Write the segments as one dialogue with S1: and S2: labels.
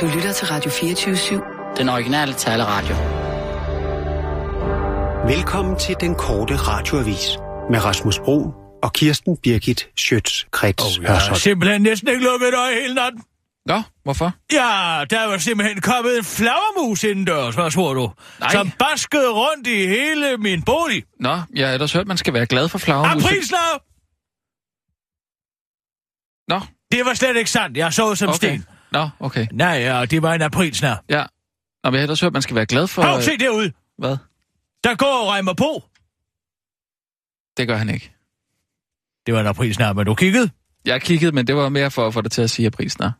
S1: Du lytter til Radio 24-7.
S2: Den originale taleradio.
S3: Velkommen til den korte radioavis med Rasmus Bro og Kirsten Birgit Schøtz-Krets oh, ja.
S4: Jeg har simpelthen næsten ikke lukket øje hele natten.
S2: Nå, hvorfor?
S4: Ja, der var simpelthen kommet en flagermus indendørs, hvad tror du?
S2: Nej.
S4: Som baskede rundt i hele min bolig.
S2: Nå, jeg har ellers hørt, man skal være glad for flagermus.
S4: Aprilslav!
S2: Nå,
S4: Det var slet ikke sandt. Jeg så som okay.
S2: okay.
S4: sten.
S2: Nå, okay.
S4: Nej, ja, det var en aprilsnær.
S2: Ja. Nå, men jeg har ellers hørt, man skal være glad for...
S4: Hov,
S2: øh,
S4: se derude.
S2: Hvad?
S4: Der går Reimer på.
S2: Det gør han ikke.
S4: Det var en aprilsnær, men du kiggede.
S2: Jeg kiggede, men det var mere for at få dig til at sige, at prisen er.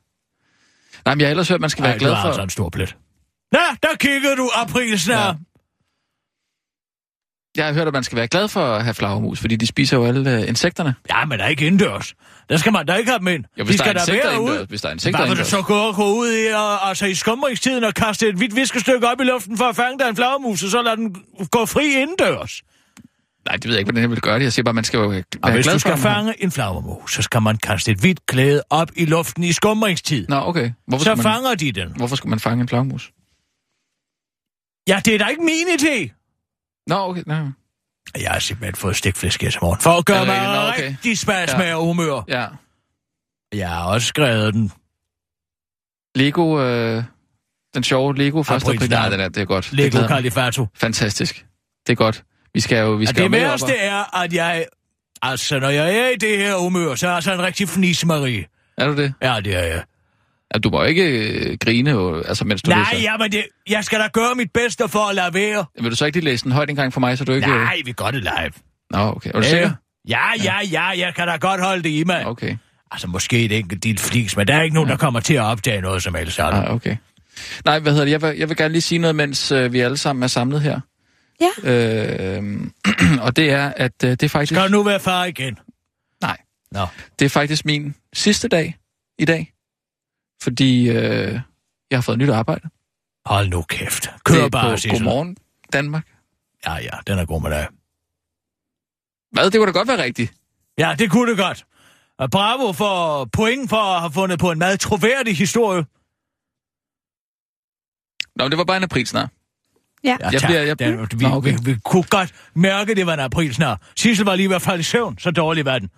S2: Nej, men jeg har ellers hørt, man skal
S4: Ej,
S2: være glad
S4: det var
S2: for...
S4: altså en stor plet. Nå, der kiggede du, aprilsnær.
S2: Ja.
S4: Ja.
S2: Jeg har hørt, at man skal være glad for at have flagermus, fordi de spiser jo alle øh, insekterne.
S4: ja, men der er ikke indendørs. Der skal man da ikke have dem ind.
S2: Jo, hvis
S4: De
S2: der er
S4: skal da
S2: insekter
S4: være ude.
S2: indendørs- hvis der er insekter
S4: Hvad vil du
S2: indendørs.
S4: så gå, gå ud i, og, altså i skumringstiden og kaste et hvidt viskestykke op i luften for at fange dig en flagermus, og så lade den gå fri indendørs?
S2: Nej, det ved jeg ikke, hvordan jeg vil gøre det. Jeg siger bare, man skal jo være
S4: Og
S2: være
S4: hvis
S2: glad
S4: du skal
S2: for... at man har-
S4: fange en flagermus, så skal man kaste et hvidt klæde op i luften i skumringstid.
S2: Nå, okay. Hvorfor
S4: Så
S2: skal, man...
S4: fanger de den.
S2: Hvorfor skal man fange en flagermus?
S4: Ja, det er da ikke min idé.
S2: Nå, okay. Nå.
S4: Jeg har simpelthen fået stikflæsk her til morgen. For at gøre
S2: Er det
S4: mig
S2: rigtigt? Nå, okay.
S4: rigtig spas
S2: Ja.
S4: med og humør.
S2: Ja.
S4: Jeg har også skrevet den.
S2: Lego... Øh... Den sjove Lego første april.
S4: April.
S2: Nej, den er, det er godt. Det
S4: Ah, Lego
S2: glæder mig.
S4: Califato.
S2: Fantastisk. Det er godt. Vi skal jo... Vi
S4: Og
S2: skal jo
S4: det
S2: med op
S4: værste er, at jeg... Altså, når jeg er i det her humør, så er jeg sådan en rigtig fnismarie.
S2: og- Er du det?
S4: Ja, det er jeg.
S2: Ja, du må ikke øh, grine, jo, altså, mens du
S4: Nej,
S2: læser.
S4: ja, men det, jeg skal da gøre mit bedste for at lade være.
S2: Vil du så ikke lige læse den højt engang for mig, så du ikke... øh,
S4: Nej, vi gør det live.
S2: Nå, okay. Er du sikker?
S4: Ja, ja, ja, jeg kan da godt holde det i mig.
S2: Okay.
S4: Altså, måske et enkelt dit flis, men der er ikke nogen, der kommer til at opdage noget som helst.
S2: Nej,
S4: Ja.
S2: Ah, okay. Nej, hvad hedder det? Jeg vil, jeg vil gerne lige sige noget, mens øh, vi alle sammen er samlet her. Ja. Øh, og det er, at øh, det er faktisk...
S4: Skal du nu være far igen?
S2: Nej.
S4: Nå.
S2: Det er faktisk min sidste dag i dag. Fordi øh, jeg har fået nyt arbejde.
S4: Hold nu kæft.
S2: det
S4: Kør
S2: er
S4: bare,
S2: på
S4: Sissel.
S2: Godmorgen Danmark.
S4: Ja, ja, den er god med dig.
S2: Hvad? Det kunne da godt være rigtigt.
S4: Ja, det kunne det godt. Og bravo for point for at have fundet på en meget troværdig historie.
S2: Nå, men det var bare en aprilsnar.
S4: Ja,
S2: Jeg
S4: tak.
S2: bliver- jeg bliver-
S4: Den, vi,
S2: Nå, okay.
S4: vi, vi, kunne godt mærke, det var en april snart. Sissel var lige i hvert fald i søvn, så dårlig var den.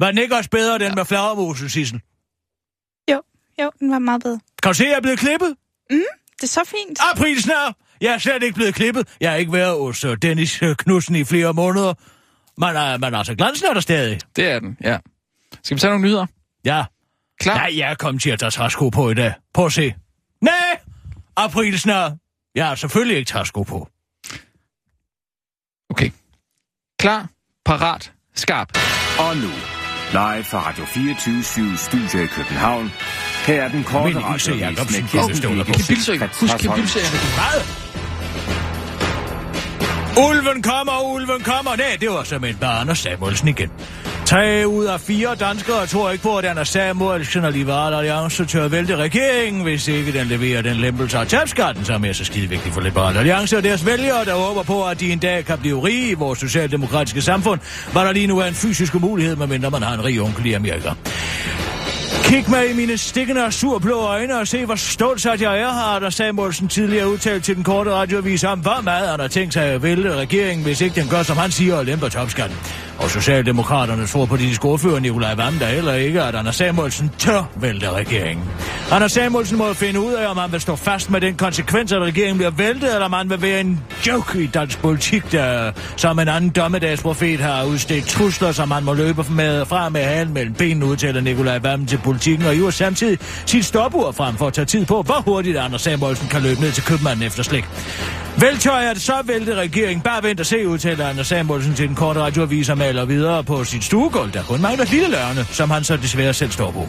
S4: Var den ikke også bedre, den ja. med flagermusen, Sissel?
S5: Jo, jo, den var meget bedre.
S4: Kan du se, at jeg er blevet klippet?
S5: Det er så fint.
S4: April snart! Jeg er slet ikke blevet klippet. Jeg har ikke været hos øh, Dennis øh, Knudsen i flere måneder. Men, øh, men altså, glansen er der stadig.
S2: Det er den, ja. Skal vi tage nogle nyheder?
S4: Ja.
S2: Klar?
S4: Nej, jeg kom til at tage træsko på i dag. Prøv at se. Nej! April snart. Jeg har selvfølgelig ikke træsko på.
S2: Okay. Klar, parat, skarp.
S6: Og nu, live fra Radio 24 Studio i København. Her er den
S4: Men
S6: korte
S4: Ilse
S6: radiovis
S4: Jacobsen,
S6: med
S4: kæmpestøvler
S6: Kirsten
S4: på.
S2: Bilsø.
S6: Birgit
S2: Husk
S6: Schøtz-Krets Hørsholm.
S2: Bilsø.
S4: Hvad? Ulven kommer, ulven kommer. Nej, det var som en bare Anders Samuelsen igen. Tre ud af fire danskere tror ikke på, at Anders Samuelsen og Liberal Alliance tør at vælte regeringen, hvis ikke den leverer den lempelse af tabskatten, som er så skide vigtig for Liberal Alliance og deres vælgere, der håber på, at de en dag kan blive rige i vores socialdemokratiske samfund, hvor der lige nu er en fysisk umulighed, medmindre man har en rig onkel i Amerika. Kig mig i mine stikkende og surblå øjne og se, hvor stolt sat jeg er, har der Samuelsen tidligere udtalt til den korte radioavis om, hvor meget han har tænkt sig at vælte regeringen, hvis ikke den gør, som han siger, og lemper topskatten. Og Socialdemokraternes forpolitiske ordfører Nikolaj Vammen, der heller ikke, at Anders Samuelsen tør vælte regeringen. Anders Samuelsen må finde ud af, om han vil stå fast med den konsekvens, at regeringen bliver væltet, eller om han vil være en joke i dansk politik, der som en anden dommedagsprofet har udstedt trusler, som han må løbe med fra med halen mellem benene, udtaler Nikolaj Vammen til politikken, og i øvrigt samtidig sit stopur frem for at tage tid på, hvor hurtigt Anders Samuelsen kan løbe ned til købmanden efter slik. Veltøj er det så vælte regeringen. Bare vent og se, udtaler Anders Samuelsen til den korte radioavis og maler videre på sit stuegulv, der kun mangler lille lørne, som han så desværre selv står på.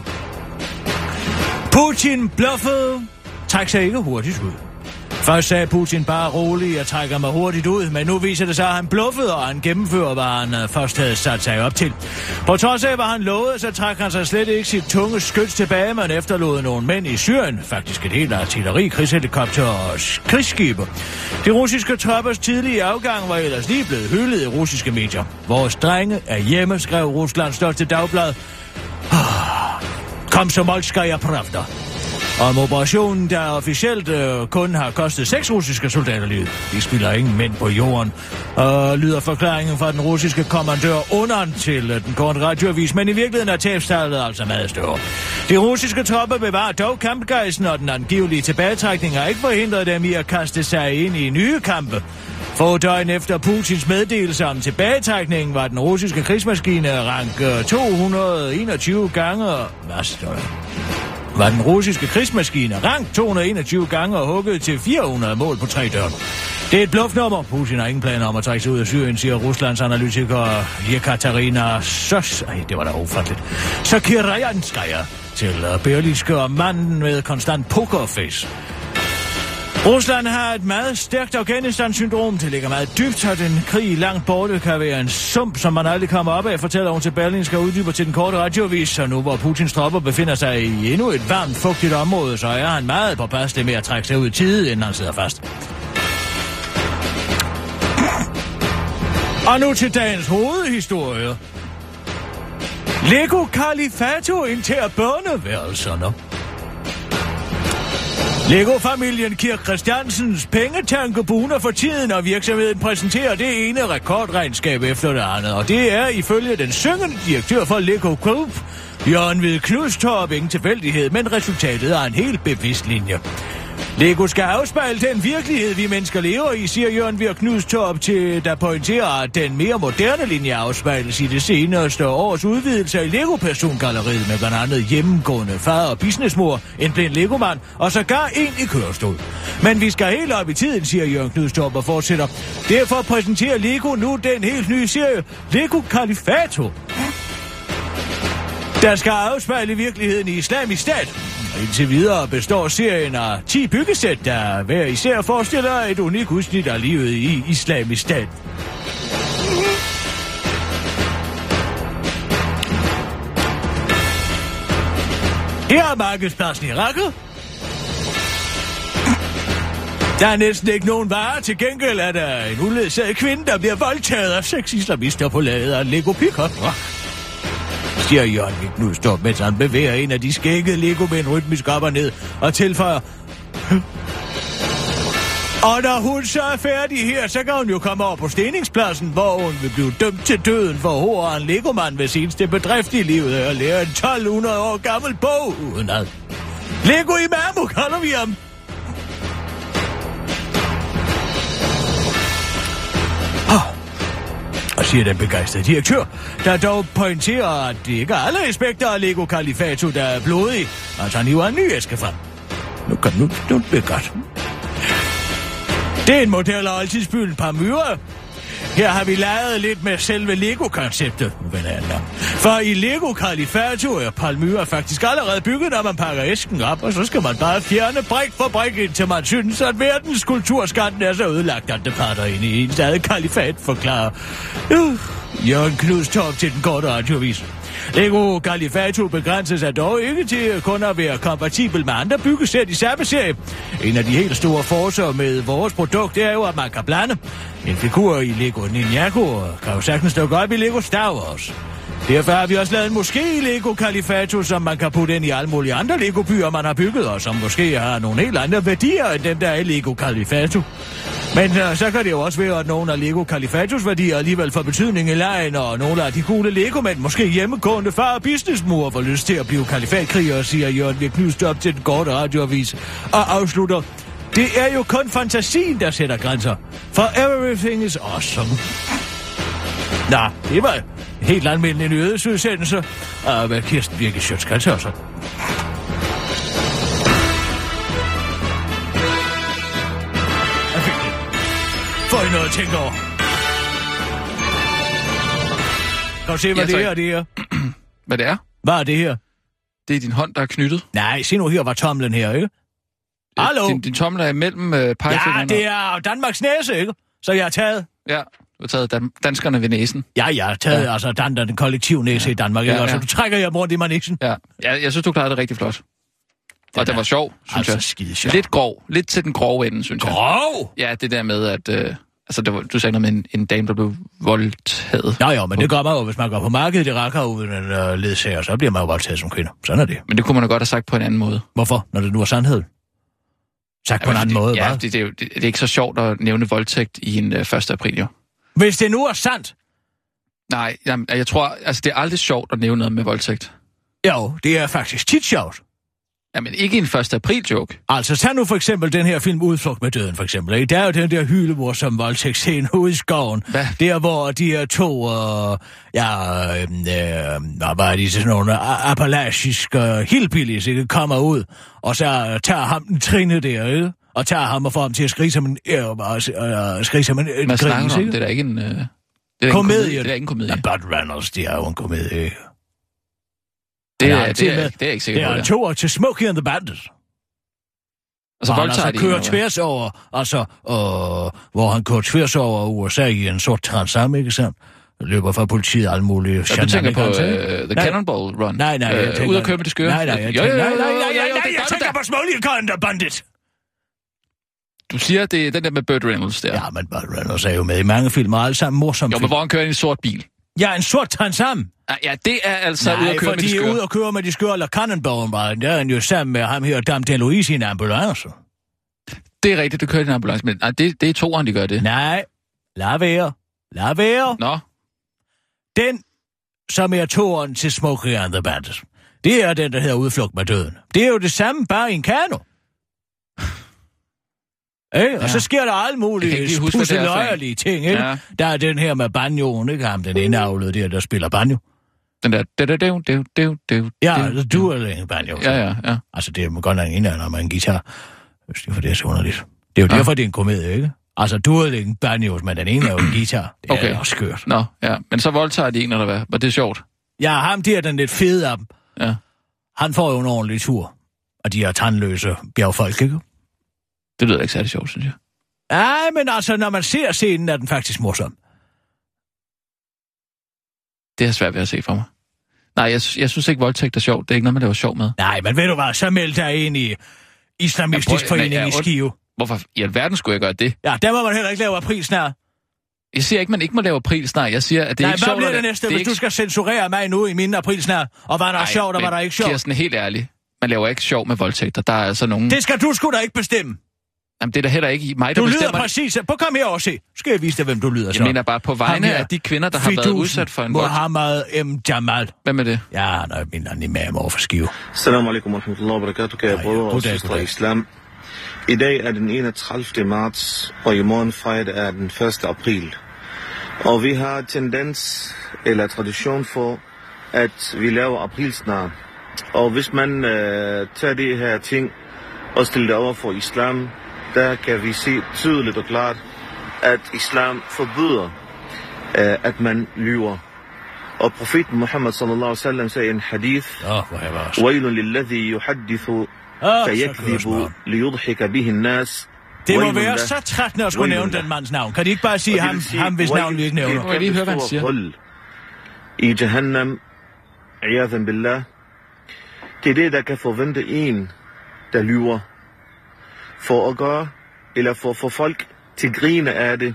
S4: Putin bluffede. Træk sig ikke hurtigt ud. Først sagde Putin bare roligt, jeg trækker mig hurtigt ud, men nu viser det sig, at han bluffede, og han gennemfører, hvad han øh, først havde sat sig op til. På trods af, hvad han lovede, så trak han sig slet ikke sit tunge skyts tilbage, men efterlod nogle mænd i Syrien, faktisk et helt artilleri, krigshelikopter og s- krigsskibe. De russiske troppers tidlige afgang var ellers lige blevet hyldet i russiske medier. Vores drenge er hjemme, skrev Ruslands største dagblad. Kom så, Molskaya Pravda. Om operationen, der officielt øh, kun har kostet seks russiske soldater livet. De spiller ingen mænd på jorden. Og lyder forklaringen fra den russiske kommandør Onan til øh, den korte radioavis, men i virkeligheden er tabstallet altså meget større. De russiske tropper bevarer dog kampgejsen, og den angivelige tilbagetrækning har ikke forhindret dem i at kaste sig ind i nye kampe. Få døgn efter Putins meddelelse om tilbagetrækningen var den russiske krigsmaskine rank øh, 221 gange... Hvad står der? Var den russiske krigsmaskine rank 221 gange og hugget til 400 mål på tre døgn. Det er et bluffnummer. Putin har ingen planer om at trække sig ud af Syrien, siger Ruslands analytiker Jekaterina Søs. Ej, det var da ufatteligt. Sakirajanskaya til øh, Berlinske og manden med konstant pokerface. Rusland har et meget stærkt Afghanistan-syndrom. Det ligger meget dybt, og den krig langt borte kan være en sump, som man aldrig kommer op af, fortæller hun til Berlinske og uddyber til den korte radiovis. Så nu hvor Putins tropper befinder sig i endnu et varmt, fugtigt område, så er han meget påpasselig med at trække sig ud i tide, inden han sidder fast. Og nu til dagens hovedhistorie. Lego Califato indtager børneværelserne. Lego-familien Kirk Christiansens pengetanke buner for tiden, og virksomheden præsenterer det ene rekordregnskab efter det andet. Og det er ifølge den syngende direktør for Lego Group, Jørgen Ved Knudstorp, ingen tilfældighed, men resultatet er en helt bevidst linje. Lego skal afspejle den virkelighed, vi mennesker lever i, siger Jørgen Ved Knudstorp, til, der pointerer, at den mere moderne linje afspejles i det seneste års udvidelse af Lego-persongalleriet med blandt andet hjemmegående far og businessmor, en blind Lego-mand og sågar en i kørestol. Men vi skal helt op i tiden, siger Jørgen Knudstorp og fortsætter. Derfor præsenterer Lego nu den helt nye serie Lego Califato, der skal afspejle virkeligheden i islamisk stat. Indtil videre består serien af 10 byggesæt, der hver især forestiller et unikt udsnit af livet i islamisk stat. Her er markedspladsen i Rakket. Der er næsten ikke nogen varer. Til gengæld er der en uledsaget kvinde, der bliver voldtaget af seks islamister på ladet af Lego Pickup Rock siger Jørgen Knudstrup, mens han bevæger en af de skækkede Lego med en rytmisk op og ned, og tilføjer... Og når hun så er færdig her, så kan hun jo komme over på steningspladsen, hvor hun vil blive dømt til døden for hård en legomand ved seneste bedrift i livet og lære en 1200 år gammel bog uden ad. Lego Imamo kalder vi ham. og siger den begejstrede direktør, der dog pointerer, at det ikke er alle aspekter af Lego Califato, der er blodige. Altså, han hiver en ny æske frem. Nu kan nu, nu bliver godt. Det er en model af altidsbyen Pamyra. Her har vi leget lidt med selve Lego-konceptet, nu vender jeg den om. For i Lego Califato er Palmyra faktisk allerede bygget, når man pakker æsken op, og så skal man bare fjerne brik for brik, indtil man synes, at verdens kulturskatten er så ødelagt, at det parter ind i ens eget kalifat, forklarer uh, Jørgen Knudstorp til den korte radiovis. Lego Califato begrænser sig dog ikke til kun at være kompatibel med andre byggesæt i samme serie. En af de helt store forser med vores produkt er jo, at man kan blande. En figur i Lego Ninjago kan jo sagtens dukke op i Lego Star Wars. Derfor har vi også lavet en moské i Lego Califato, som man kan putte ind i alle mulige andre Lego-byer, man har bygget, og som måske har nogle helt andre værdier, end dem, der er i Lego Califato. Men øh, så kan det jo også være, at nogle af Lego Califatos værdier alligevel får betydning i lejen, og nogle af de gule Lego-mænd, måske hjemmegående far og businessmor, får lyst til at blive kalifatkrigere, siger Jørgen Virk Knudstrup til den korte radioavis, og afslutter. Det er jo kun fantasien, der sætter grænser. For everything is awesome. Nå, det var en helt almindelig nyhedsudsendelse af hvad Kirsten Birke Sjøtskrets også. Jeg fik det. Får I noget at tænke over? Kan du se, hvad
S2: Ja,
S4: ja, det
S2: tak.
S4: her det er?
S2: Hvad det er?
S4: Hvad er det her?
S2: Det er din hånd, der er knyttet. Øh,
S4: Nej, se nu her, var tomlen her, ikke? Hallo?
S2: Din, din tommel er imellem øh,
S4: Ja,
S2: pegefingeren.
S4: det er Danmarks næse, ikke? Så jeg har taget...
S2: og- Ja, du har taget dan- danskerne ved næsen.
S4: Ja, jeg har taget ja. altså Dan, den kollektiv næse ja. i Danmark, ikke?
S2: Ja,
S4: Ja, ja.
S2: ja.
S4: Og så trækker jeg rundt i manischen.
S2: Ja, jeg, jeg synes, du klarede det rigtig flot.
S4: Den
S2: og det
S4: er
S2: var sjov, synes
S4: Altså,
S2: jeg.
S4: skide sjov.
S2: Lidt grov. Lidt til den grove ende, synes jeg.
S4: Grov!
S2: Ja, det der med, at, øh, Altså, der var, du sagde noget med en, en dame, der blev voldtaget.
S4: Nå jo, men det gør man jo, hvis man går på markedet i rakker uden en øh, ledsager, så bliver man jo voldtaget som kvinde. Sådan er det.
S2: Men det kunne man jo godt have sagt på en anden måde.
S4: Hvorfor? Når det nu er sandhed. Sagt på en
S2: Jamen,
S4: anden
S2: fordi-
S4: måde,
S2: ja,
S4: hva'?
S2: det, det, er jo- det, det er ikke så sjovt at nævne voldtægt i en øh, 1. april, jo.
S4: Hvis det nu er sandt,
S2: Nej, jamen, jeg tror, altså, det er aldrig sjovt at nævne noget med voldtægt.
S4: jo, det er faktisk tit sjovt.
S2: Jamen, ikke en 1. april-joke.
S4: Altså, tag nu for eksempel den her film Udflugt med døden, for eksempel. Ikke? Der er jo den der hylemor, som voldtægtsscene ude i skoven.
S2: Hvad?
S4: Der, hvor de her to, øh, ja, øh, øh, hvad var de, sådan nogle a- appalachiske hillbillies, ikke, kommer ud, og så øh, tager ham den trine der, ikke? og tager ham og får ham til at skrige som en, øh, øh, skrige som en, en
S2: Man snakker
S4: gris,
S2: om, det
S4: ikke?
S2: er da ikke en... Øh, det er da ikke en
S4: Komedie.
S2: Det er da ikke en komedie.
S4: Ja, Bud Reynolds, det er jo en komedie, ikke?
S2: det,
S4: ja,
S2: er, det,
S4: til
S2: er,
S4: med-
S2: det, er, jeg ikke
S4: Det
S2: sikker på,
S4: er
S2: det
S4: en
S2: er.
S4: toer til Smokey and the Bandit.
S2: Altså,
S4: hvor han
S2: voldtager
S4: altså
S2: de en,
S4: kører
S2: eller hvad?
S4: tværs over, altså, øh, hvor han kører tværs over USA i en sort transam, ikke sandt? Løber fra politiet og alle mulige...
S2: Ja, du tænker på
S4: shenanigans, ikke?
S2: uh, The
S4: Nej.
S2: Cannonball Run?
S4: Nej, nej, jeg
S2: Øh,
S4: tænker...
S2: Ud at købe med det skøre?
S4: Nej, nej,
S2: Jo,
S4: jeg
S2: jo,
S4: tænker...
S2: jo,
S4: Nej,
S2: jo,
S4: nej, nej,
S2: jo,
S4: nej,
S2: jo,
S4: nej,
S2: det
S4: jeg
S2: gør du
S4: tænker
S2: da.
S4: på Smokey and the Bandit!
S2: Du siger, det er den der med Burt Reynolds der.
S4: Ja, men Bud Reynolds er jo med i mange film, og alle sammen morsomme
S2: Jo, men
S4: film.
S2: hvor han kører i en sort bil.
S4: Ja, en sort transam!
S2: Ah, Ja, det er altså ud
S4: Nej,
S2: at køre med det
S4: fordi
S2: skøre.
S4: ud og køre med de skøre, eller Cannonball Run, der er han jo sammen med ham her, Dam DeLuise i en ambulance.
S2: Det er rigtigt, du kører i en ambulance, men nej, det, det er toeren, de gør det.
S4: Nej, lad være. Lad være.
S2: Nå,
S4: Den, som er toren til Smokey and the Bandit, det er den, der hedder Udflugt med døden. Det er jo det samme, bare i en kano. Ikke? Og
S2: Ja.
S4: så sker der alle
S2: Jeg kan ikke lige
S4: mulige
S2: huske, hvad det er for en.
S4: pusseløjerlige ting. Ikke?
S2: Ja.
S4: Der er den her med banjoen, ikke? Ham, den indavlede der, der spiller banjo.
S2: den der... Det, det, det, det, det, det,
S4: Ja, det, du er en banjo.
S2: Ja, ja, ja.
S4: Altså, det er jo godt nok en indavler med en guitar. Jeg synes, Det er for det er så underligt. Det er jo
S2: Ja.
S4: derfor, det er en komedie, ikke? Altså, du er en banjo, men den ene er jo en guitar. Det er
S2: Okay.
S4: okay. også skørt.
S2: Nå, ja. Men så voldtager de en, eller hvad? Var det sjovt?
S4: Ja, ham der, den lidt fede af dem.
S2: Ja.
S4: Han får jo en ordentlig tur. Og de er tandløse bjergfolk, ikke?
S2: Det lyder ikke særlig sjovt, synes jeg.
S4: Nej, men altså, når man ser scenen, er den faktisk morsom.
S2: Det er svært ved at se for mig. Nej, jeg, sy- jeg synes ikke, voldtægt er sjovt. Det er ikke noget, man laver sjov med.
S4: Nej, men ved du hvad, så meld dig ind i Islamistisk
S2: Jeg prøver-
S4: Forening
S2: nej, jeg
S4: i
S2: er ond-
S4: Skive.
S2: Hvorfor i alverden skulle jeg gøre det?
S4: Ja, der må man heller ikke lave april snart.
S2: Jeg siger ikke, man ikke må lave april snart. Jeg siger, at det er
S4: Nej,
S2: ikke
S4: hvad
S2: sjovt.
S4: bliver
S2: at-
S4: det næste,
S2: er
S4: hvis
S2: ikke-
S4: du skal censurere mig nu i min april snart? Og var der
S2: Ej,
S4: sjovt, og var
S2: men
S4: der ikke sjovt?
S2: Kirsten, helt ærlig. Man laver ikke sjov med voldtægter. Der er altså nogen... Det,
S4: Det skal du sgu da ikke bestemme.
S2: jamen, det er da heller ikke mig, der
S4: Du lyder
S2: bestemmer.
S4: præcis. Prøv kom her og se. Så skal jeg vise dig, hvem du lyder så.
S2: jeg mener bare på vegne
S4: Ham her.
S2: af de kvinder, der har været
S4: Fidusen.
S2: udsat for en vold.
S4: Mohammed M. Jamal.
S2: Hvad med det?
S4: Ja, han er min imam over for Skive.
S7: Assalamu alaikum wa rahmatullahi wa barakatuh, kære
S4: Nej,
S7: brødre og
S4: goddag,
S7: søstre i
S4: goddag.
S7: islam. I dag er den 31. marts, og i morgen fredag er den 1. april. Og vi har tendens eller tradition for, at vi laver aprilsnar. Og hvis man øh, tager de her ting og stiller det over for islam, der kan vi se tydeligt og klart, at islam forbyder, øh, at man lyver. Og profeten Muhammad sallallahu alaihi wasallam sagde i en hadith,
S4: Åh, hvor jeg var også.
S7: ويل للذي يحدث
S4: Åh, så kører
S7: فيكذب
S4: smøren.
S7: ليضحك به الناس
S4: Det må
S7: ويل
S4: være
S7: له.
S4: så trættende at skulle
S7: Wayne
S4: nævne
S7: Lund.
S4: den mands navn. Kan de ikke bare sige
S7: Og det
S4: ham,
S7: vil sige,
S4: ham hvis
S7: wayl
S4: navn vi ikke
S7: til
S4: nævner?
S7: et
S2: Må jeg lige høre, hvad han
S7: kæmpestort
S2: siger?
S7: hul I Jahannam, Iyadhan billah, det er det, der kan forvente en, der lyver. For at gøre, eller for at få folk til grine af det.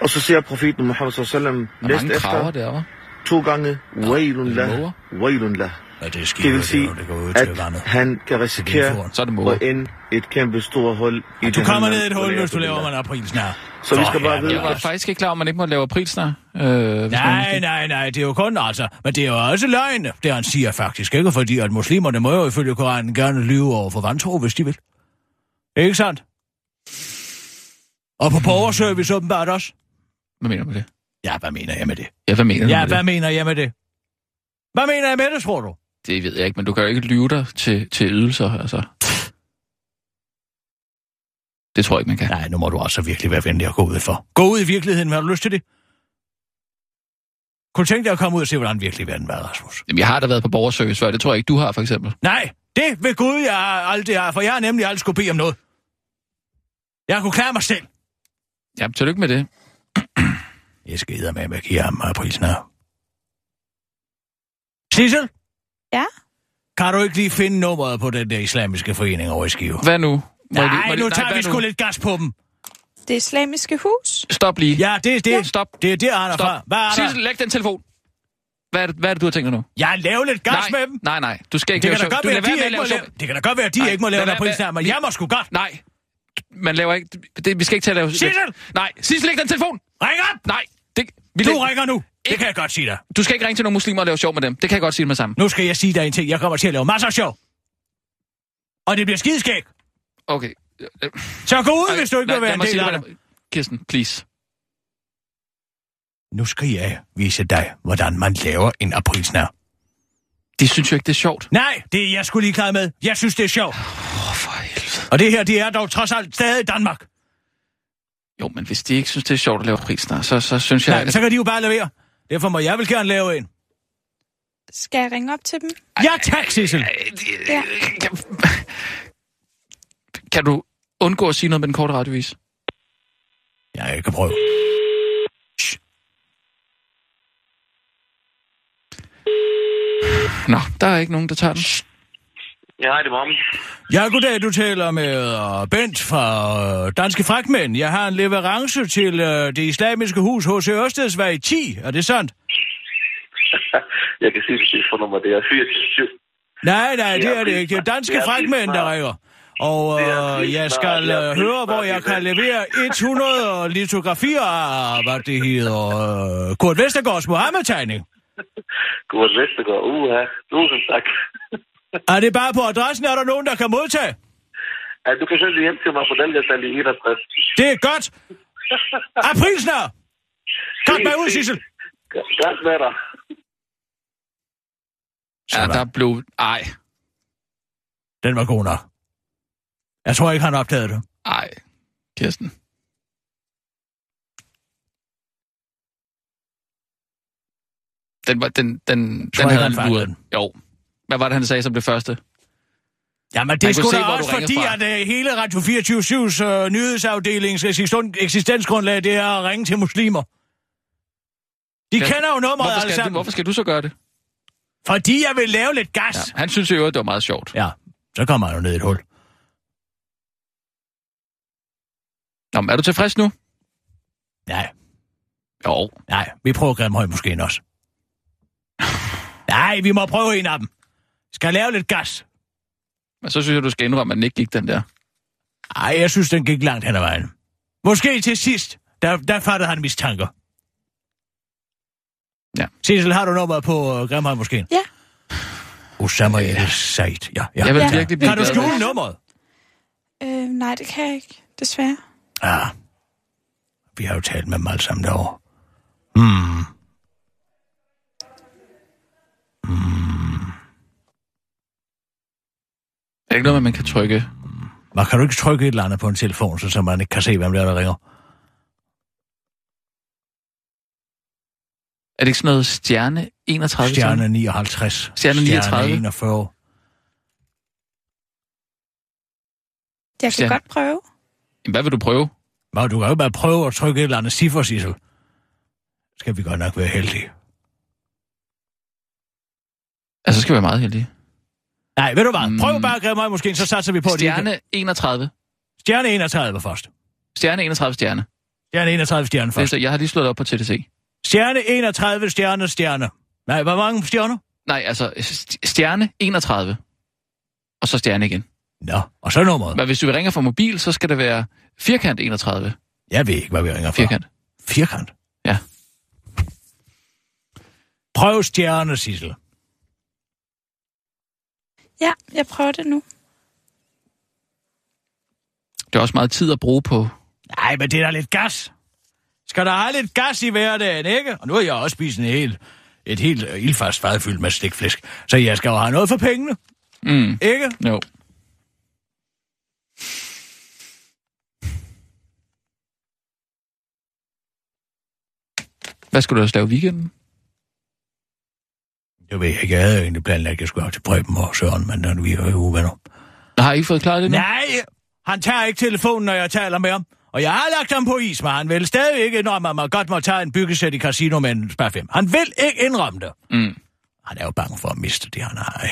S7: Og så siger profeten Muhammad sallallahu
S2: Der er
S7: alaihi
S2: mange kraver
S7: efter
S2: derovre.
S7: to gange, wailun
S2: måger.
S7: lah, wailun lah.
S4: Ja, det er skidt,
S7: Det vil sige,
S4: det går ud til
S7: at
S4: vandet.
S7: han kan
S4: Det er
S7: risikere
S4: foran.
S2: Så er det måger.
S7: og end et kæmpe stort hul i
S4: Du kommer ned i et
S7: Jahannam,
S4: hul,
S7: og
S4: hvis du
S7: det er
S4: laver mig en april snart.
S7: Så vi skal
S4: Nå,
S7: bare
S4: ja,
S7: vide,
S2: Jeg var faktisk ikke klar om, man ikke må lave april snart. Øh, hvis
S4: Nej,
S2: man...
S4: nej, nej, det er jo kun altså. Men det er jo også løgn, det han siger faktisk, ikke? Fordi at muslimerne må jo ifølge Koranen gerne lyve over for vantro, hvis de vil. Ikke sandt? Og på borgerservice åbenbart også.
S2: Hvad mener du med det?
S4: Ja, hvad mener jeg med det?
S2: Ja, hvad mener du
S4: Ja,
S2: med
S4: hvad
S2: det?
S4: mener jeg med det? Hvad mener jeg med det, tror du?
S2: Det ved jeg ikke, men du kan jo ikke lyve dig til, til ydelser, altså. Det tror jeg ikke, man kan.
S4: Nej, nu må du også virkelig være venlig at gå ud for. Gå ud i virkeligheden, har du lyst til det? Kunne tænke dig at komme ud og se, hvordan virkelig verden var, Rasmus?
S2: Jamen, jeg har da været på borgerservice før. Det tror jeg ikke, du har, for eksempel.
S4: Nej, det ved Gud, jeg har aldrig har, for jeg har nemlig aldrig skulle bede om noget. Jeg kunne klare mig selv.
S2: Ja, tillykke med det.
S4: Jeg skal med, at jeg giver ham meget prisen her. Sissel?
S5: Ja?
S4: Kan du ikke lige finde nummeret på den der islamiske forening over i Skive?
S2: Hvad nu? Må jeg lige- må
S4: Nej,
S2: jeg lige-
S4: nu tager
S2: hvad
S4: vi sgu lidt gas på dem.
S5: Det islamiske hus.
S2: Stop lige.
S4: Ja, det er det.
S2: Ja. Stop.
S4: Det er det, han er
S2: Stop.
S4: fra. Hvad er der?
S2: Sissel, læg den telefon. Hvad er, det, hvad er det, du har tænkt dig nu?
S4: Jeg laver lidt gas
S2: nej,
S4: med dem.
S2: nej, nej. Du skal ikke
S4: Det
S2: lave
S4: kan, da
S2: sjov.
S4: godt
S2: Du
S4: være,
S2: lader være
S4: de
S2: med
S4: ikke må
S2: sjov.
S4: lave, det kan da godt være, at de
S2: Nej,
S4: ikke må lave
S2: lad
S4: en
S2: være med-
S4: pris men jeg må sgu godt.
S2: Nej. Man laver ikke... Det, vi skal ikke til at lave...
S4: Sissel!
S2: Nej, Sissel, læg den telefon!
S4: Ring op!
S2: Nej, det, vi
S4: Du
S2: læg-
S4: ringer nu. Det
S2: Ikke-
S4: kan jeg godt sige dig.
S2: du skal ikke ringe til nogle muslimer og lave sjov med dem. Det kan jeg godt sige med sammen.
S4: Nu skal jeg sige dig en ting. Jeg kommer til at lave masser af sjov. Og det bliver skideskæg.
S2: Okay.
S4: Så gå ud, hvis du ikke vil være
S2: lad
S4: en
S2: mig
S4: del
S2: sige
S4: af
S2: det
S4: det.
S2: på den- Kirsten, please.
S4: Nu skal jeg vise dig, hvordan man laver en aprilsnær.
S2: De synes jo ikke, det er sjovt.
S4: Nej, det er jeg sgu lige klar med. Jeg synes, det er sjovt.
S2: Åh, oh, for helvede.
S4: Og det her, det er dog trods alt stadig Danmark.
S2: Jo, men hvis de ikke synes, det er sjovt at lave prisner, så, så synes jeg...
S4: Nej, så kan de jo bare levere. Derfor må jeg vel gerne lave en.
S5: Skal jeg ringe op til dem?
S4: Ja, tak, Sissel.
S5: Ja.
S2: Kan du undgå at sige noget med den korte radiovis?
S4: Ja, jeg kan prøve.
S2: Nå, der er ikke nogen, der tager den.
S7: Ja, hej, det er Mohammed.
S4: Ja, goddag. Du taler med øh, Bent fra øh, Danske Fragtmænd. Jeg har en leverance til øh, det islamiske hus hos Ørstedsvej 10. Er det sandt?
S7: Jeg kan sige præcis for nummer, det er 427.
S4: Nej, nej, det
S7: Det er
S4: er det ikke. Det er
S7: prisma.
S4: danske
S7: Det er
S4: fragtmænd,
S7: prisma.
S4: der ringer. Og
S7: Det er
S4: øh,
S7: prisma,
S4: jeg skal
S7: det er
S4: øh, høre,
S7: prisma,
S4: hvor
S7: det
S4: jeg
S7: er
S4: kan
S7: det.
S4: levere 100 litografier af, hvad det hedder, øh, Kurt Vestergaards Mohammed-tegning.
S7: God Vestergaard, uha. Tusind tak.
S4: Er det bare på adressen, er der nogen, der kan modtage?
S7: Ja, du kan sende det hjem til mig på Dalgasal i 61.
S4: Det er godt. Aprilsnær! Kom med ud, Sissel.
S7: Godt med dig.
S2: Ja,
S4: Sådan.
S2: der blev... Ej,
S4: Den var god nok. Jeg tror ikke, han opdagede det.
S2: ej, Kirsten. Den, var, den, den,
S4: Tror
S2: den
S4: ikke,
S2: havde
S4: han
S2: han
S4: fangede
S2: luret.
S4: den.
S2: Jo. Hvad var det, han sagde som det første?
S4: Jamen, det er
S2: Man kunne
S4: sgu da
S2: se, hvor du
S4: også fordi,
S2: ringede fra.
S4: at øh, hele Radio 24-7's øh, nyhedsafdelings eksisten- eksistensgrundlag, det er at ringe til muslimer. De
S2: Ja,
S4: kender jo nummeret
S2: Hvorfor
S4: alle
S2: skal, du,
S4: sammen,
S2: hvorfor skal du så gøre det?
S4: fordi jeg vil lave lidt gas.
S2: Ja, han synes jo, at det var meget sjovt.
S4: Ja, så kommer han jo ned i et hul.
S2: Nå, men er du tilfreds nu?
S4: Nej,
S2: Jo.
S4: nej, vi prøver Grimhøj måske også. Nej, vi må prøve en af dem. Skal lave lidt gas.
S2: Men så synes jeg, du skal indrømme, at den ikke gik den der.
S4: Ej, jeg synes, den gik langt hen ad vejen. Måske til sidst, der, der fattede han mistanker.
S2: Ja.
S4: Sissel, har du nummeret på uh, Grimhøj måske?
S5: Ja.
S4: Osama ja. El Said. Ja, ja.
S2: Jeg vil
S4: ja.
S2: virkelig blive
S4: Kan du
S2: glad,
S4: skjule
S2: hvis-
S4: nummeret?
S5: Øh, nej, det kan jeg ikke, desværre.
S4: Ja. Vi har jo talt med dem alle sammen derovre. Hmm.
S2: Det er ikke noget, med, man kan trykke.
S4: Man kan du ikke trykke et eller andet på en telefon, så, så man ikke kan se, hvem der, er, der ringer?
S2: Er det ikke sådan noget stjerne 31?
S4: Stjerne 59.
S2: Stjerne 39.
S4: Stjerne 41.
S5: Jeg kan
S2: Stjerne.
S5: godt prøve.
S2: Jamen, hvad vil du prøve?
S4: Men du kan jo bare prøve at trykke et eller andet ciffer, Sissel. Skal vi godt nok være heldige.
S2: Altså, så skal vi være meget heldige.
S4: Nej, ved du hvad? Prøv
S2: Mm.
S4: bare at Grimhøj måske, så satser vi på, at de ikke-
S2: Stjerne 31.
S4: Stjerne 31 først.
S2: Stjerne 31 stjerne.
S4: Stjerne 31 stjerne
S2: Det er
S4: først.
S2: så- Jeg har lige slået op på TTC.
S4: Stjerne 31 stjerne stjerne. Nej, hvor mange stjerner?
S2: Nej, altså st- stjerne 31. Og så stjerne igen.
S4: Nå, og så nummeret.
S2: Men hvis du ringer fra mobil, så skal det være firkant 31.
S4: Jeg ved ikke, hvad vi ringer for.
S2: Firkant.
S4: Firkant?
S2: Ja.
S4: Prøv stjerne, Sissel.
S5: Ja, jeg prøver det nu.
S2: Det er også meget tid at bruge på...
S4: Nej, men det er da lidt gas. Skal der have lidt gas i hverdagen, ikke? Og nu har jeg også spist en hel, et helt øh, ildfast fad fyldt med stikflæsk. Så jeg skal jo have noget for pengene,
S2: Mm,
S4: ikke?
S2: jo. Hvad skulle du også lave i weekenden?
S4: Jeg ved ikke, jeg havde jo egentlig planlagt, at jeg skulle have til Preben og Søren, men øh, vi er jo uvenner.
S2: Nå, Har I ikke fået klaret det nu?
S4: Nej, han tager ikke telefonen, når jeg taler med ham. Og jeg har lagt ham på is, men han vil stadig ikke indrømme, at man godt må tage en byggesæt i casino med en spær 5. Han vil ikke indrømme det.
S2: Mm.
S4: Han er jo bange for at miste det, han har.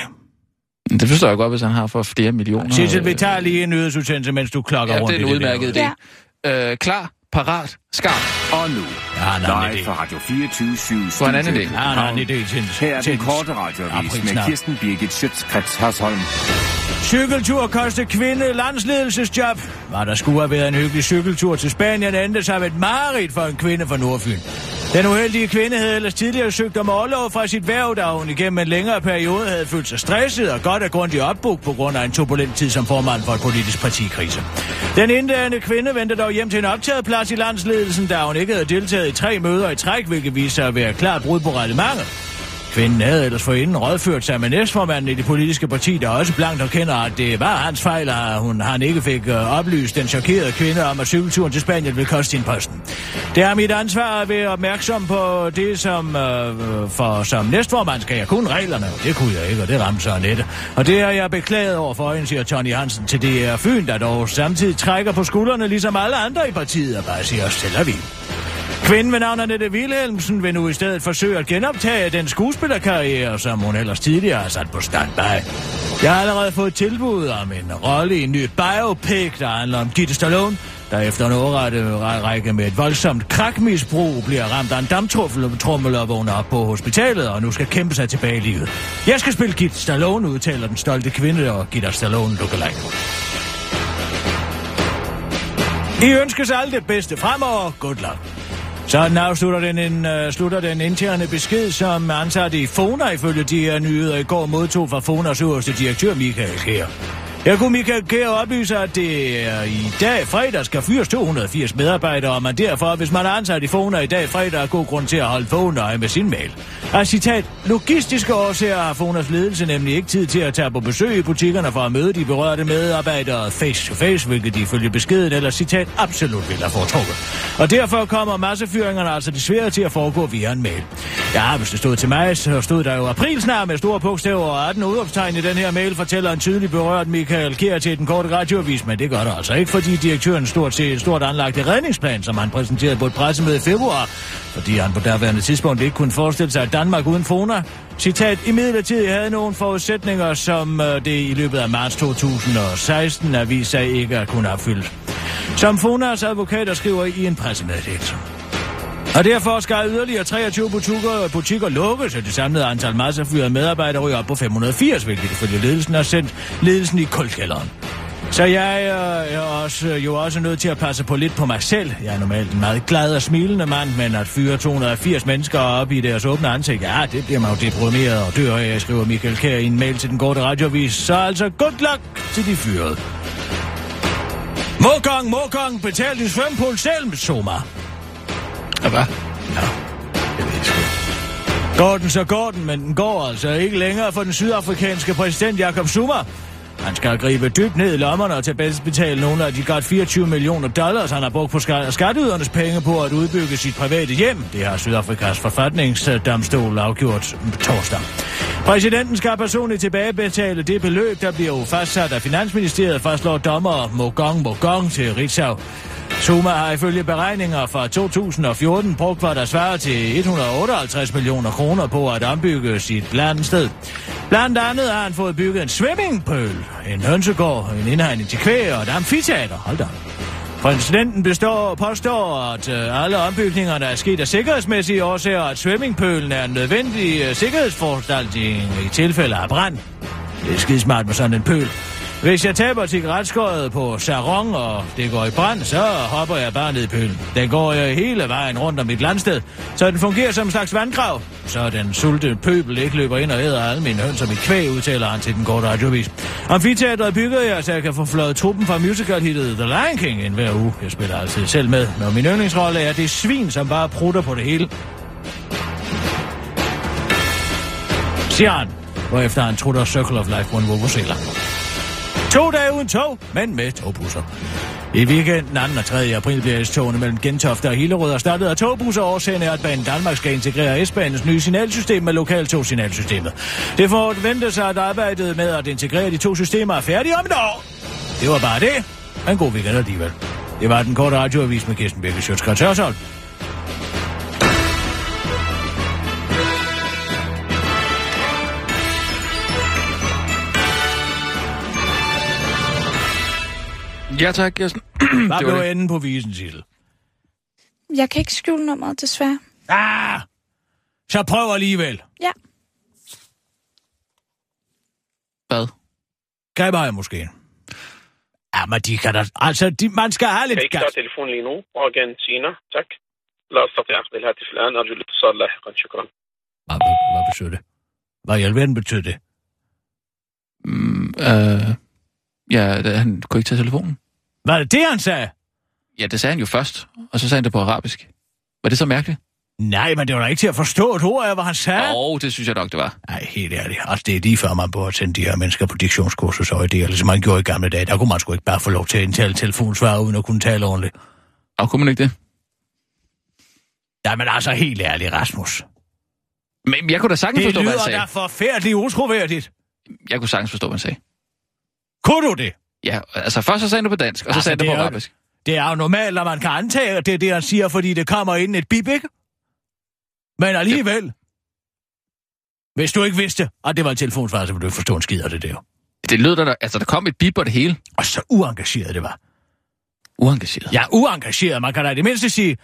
S2: Det forstår jeg godt, hvis han har for flere millioner.
S4: Sissel, vi tager lige en nyhedsudsendelse, mens du klokker
S2: Ja,
S4: rundt
S2: det er
S4: i
S2: en udmærket
S4: der.
S2: idé.
S5: Ja.
S2: øh, klar, parat, skarp.
S6: Og nu,
S4: har en anden
S6: live
S4: idé.
S6: fra Radio 24 7
S2: Du har en anden idé.
S4: Jeg har en anden idé til en-
S6: Her er
S4: til
S6: den
S4: en-
S6: korte radioavis
S4: April
S6: med
S4: snart.
S6: Kirsten Birgit Schøtzgrads Hasholm.
S4: Cykeltur koster kvinde landsledelsesjob. Hvad der skulle have været en hyggelig cykeltur til Spanien, endte som et mareridt for en kvinde fra Nordfyn. Den uheldige kvinde havde ellers tidligere søgt om overlov fra sit værv, da hun igennem en længere periode havde følt sig stresset og godt og grundigt opbukt på grund af en turbulent tid som formand for et politisk partikrise. Den indlærende kvinde vendte dog hjem til en optaget plads i landsledelsen, da hun ikke havde deltaget i tre møder i træk, hvilket viste sig at være et klart brud på reglementet. Kvinden havde ellers forinden rådført sig med næstformanden i det politiske parti, der også blankt erkender, at det var hans fejl, at hun, han ikke fik øh, oplyst den chokerede kvinde om, at cykelturen til Spanien ville koste sin posten. Det er mit ansvar at være opmærksom på det, som øh, for som næstformand skal jeg kun reglerne, og det kunne jeg ikke, og det ramte så Annette. Og det er jeg beklaget over for hende, siger Tony Hansen til DR Fyn, der dog samtidig trækker på skuldrene, ligesom alle andre i partiet, og bare siger, stiller vi. Kvinden ved navn Annette Wilhelmsen vil nu i stedet forsøge at genoptage den skuespillerkarriere, som hun ellers tidligere har sat på standby. Jeg har allerede fået tilbud om en rolle i en ny biopic, der handler om Gitte Stallone, der efter en årette række med et voldsomt krakmisbrug bliver ramt af en damptrummel og vågner op på hospitalet, og nu skal kæmpe sig tilbage i livet. Jeg skal spille Gitte Stallone, udtaler den stolte kvinde, og Gitte Stallone lookalike. I ønskes alt det bedste fremover. Good luck. Sådan afslutter den, en, uh, slutter den interne besked, som ansatte i Fona ifølge de her nyheder i går modtog fra Fonas øverste direktør Michael Kjær. Jeg kunne Michael Kjær oplyse, at det er i dag fredag skal fyres 280 medarbejdere, og man derfor, hvis man er ansat i Fona i dag fredag, er god grund til at holde vågen øje med sin mail. Og citat, logistiske årsager har Fonas ledelse nemlig ikke tid til at tage på besøg i butikkerne for at møde de berørte medarbejdere face to face, hvilket de ifølge beskeden eller citat absolut ville have foretrukket. Og derfor kommer massefyringerne altså desværre til at foregå via en mail. Ja, hvis det stod til mig, så stod der jo april snart med store bogstaver og 18 udopstegn i den her mail, fortæller en tydelig berørt Michael Kjær til den korte radioavis, men det gør der altså ikke, fordi direktøren stort set et stort anlagte redningsplan, som han præsenterede på et pressemøde i februar, fordi han på daværende tidspunkt ikke kunne forestille sig, at Danmark uden Fona, citat, i midlertid havde nogle forudsætninger, som øh, det i løbet af marts 2016 har vist sig ikke at kunne opfylde. Som Fonas advokater skriver i en pressemeddelelse. Og derfor skal yderligere 23 butikker, butikker lukkes, og det samlede antal massefyrede medarbejdere ryger op på 580, hvilket ifølge ledelsen har sendt ledelsen i kuldkælderen. Så jeg øh, er også, jo også nødt til at passe på lidt på mig selv. Jeg er normalt en meget glad og smilende mand, men at fyre 280 mennesker op i deres åbne ansigt, ja, det bliver mig jo deprimeret og dør af, skriver Michael Kjær i en mail til den korte radiovis. Så altså, good luck til de fyrede. Mågang, mågang, betal din svømpol selv, Soma.
S2: Og hvad?
S4: Går den, så går den, men den går altså ikke længere for den sydafrikanske præsident Jacob Zuma. Han skal gribe dybt ned i lommerne og tilbagebetale nogle af de godt 24 millioner dollars, han har brugt på skat- skatteydernes penge på at udbygge sit private hjem. Det har Sydafrikas forfatningsdomstol afgjort torsdag. Præsidenten skal personligt tilbagebetale det beløb, der bliver jo fastsat af Finansministeriet, fastslår dommer Mogong Mogong til Ritzau. Zuma har ifølge beregninger fra 2014 brugt, hvad der svarer til 158 millioner kroner på at ombygge sit landsted. Blandt andet har han fået bygget en swimmingpøl, en hønsegård, en indhegning til kvæg og et amfiteater. Hold da. op. Præsidenten består, påstår, at øh, alle ombygninger, der er sket af sikkerhedsmæssige årsager, og at swimmingpølen er en nødvendig øh, sikkerhedsforanstaltning i tilfælde af brand. Det er skidesmart med sådan en pøl. Hvis jeg taber cigaretskåret på sarong, og det går i brand, så hopper jeg bare ned i pølen. Den går jeg hele vejen rundt om mit landsted, så den fungerer som en slags vandgrav. Så den sulte pøbel ikke løber ind og æder alle mine høns og mit kvæg, udtaler han til den korte radiovis. Amfiteatret bygger jeg, så jeg kan få fløjet truppen fra musicalhittet The Lion King ind hver uge. Jeg spiller altid selv med, når min yndlingsrolle er det svin, som bare prutter på det hele. Siger han, hvorefter han trutter Circle of Life på en vuvuzela. To dage uden tog, men med togbusser. I weekenden 2. og 3. april bliver S-togene mellem Gentofte og Hillerød erstattet af togbusser. Årsagen er, at Banen Danmark skal integrere S-banens nye signalsystem med lokaltogsignalsystemet. Det forventes, at arbejdet med at integrere de to systemer er færdigt om et år. Det var bare det. Men god weekend alligevel. Det var den korte radioavis med Kirsten Birke Sjøtskrets Hørsholm.
S2: Ja tak, Kirsten. det
S4: Hvad blev
S2: var det.
S4: enden på visen, Sissel?
S5: Jeg kan ikke skjule nummeret, desværre.
S4: Ah! Så prøv alligevel.
S5: Ja,
S2: Hvad?
S4: Greb jeg måske. Ja, men de kan da... Altså, de, man skal have
S8: kan
S4: lidt
S8: ikke
S4: gas.
S8: tage telefonen lige nu. Morgan Tina, tak. لا أستطيع أخذ الهاتف الآن أرجو الاتصال لاحقا شكرا
S4: Hvad, be- hvad betyder det? Hvad i alverden betyder det?
S2: Mm, øh, ja, da- han kunne ikke tage telefonen.
S4: Var det det, han sagde?
S2: Ja, det sagde han jo først, og så sagde han det på arabisk. Var det så mærkeligt?
S4: Nej, men det var da ikke til at forstå et ord af, hvad han sagde.
S2: Åh, oh, det synes jeg nok, det var.
S4: Nej, helt ærligt. Altså, det er lige før, man burde sende de her mennesker på diktionskurser, så er det, eller som man gjorde i gamle dage. Der kunne man sgu ikke bare få lov til at indtale telefonsvar, uden at kunne tale ordentligt.
S2: Og kunne man ikke det?
S4: Nej, men altså, helt ærligt, Rasmus.
S2: Men jeg kunne da sagtens
S4: Det
S2: forstå, hvad han
S4: lyder
S2: sagde.
S4: da forfærdeligt utroværdigt.
S2: Jeg kunne sagtens forstå, hvad han sagde.
S4: Kunne du det?
S2: Ja, altså først så sagde han det på dansk, og så
S4: Altså,
S2: sagde han det
S4: det
S2: på
S4: er jo-
S2: arabisk.
S4: Det er jo normalt, at man kan antage, at det er det, han siger, fordi det kommer inden et bip, ikke? Men alligevel. Hvis du ikke vidste, at det var en telefonsvar, så ville du ikke forstå en skid af det der.
S2: Det lød der, altså der kom et bip og det hele.
S4: Og så uengageret det var.
S2: Uengageret.
S4: Ja, uengageret. Man kan da i det mindste sige,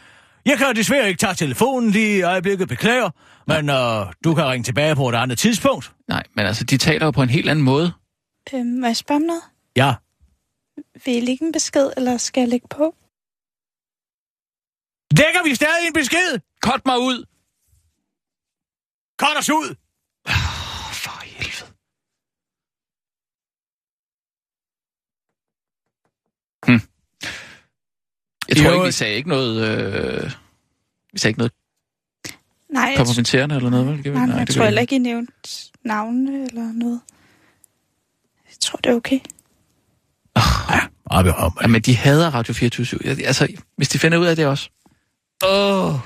S4: jeg kan jo desværre ikke tage telefonen lige i øjeblikket, beklager, men øh, du kan ringe tilbage på et andet tidspunkt.
S2: Nej, men altså, de taler jo på en helt anden måde.
S5: øhm, må jeg spørge om noget?
S4: Ja,
S5: Vil I lægge en besked, eller skal jeg lægge på?
S4: lægger vi stadig en besked?
S2: Kort mig ud!
S4: Kort os ud!
S2: Åh, For helvede. Hm. Jeg tror
S4: Jo,
S2: ikke, vi
S4: øh,
S2: sagde ikke noget... Øh, vi sagde ikke noget
S5: Nej, jeg, tror-
S2: kompromitterende eller noget, vel? Gjorde vi?
S5: nej, nej, jeg
S2: det
S5: tror
S2: gjorde vi
S5: heller ikke, I nævnte navne eller noget. Jeg tror, det er okay.
S4: Op, i op.
S2: Jamen, de hader Radio 24 Altså, hvis de finder ud af det også. Åh, oh,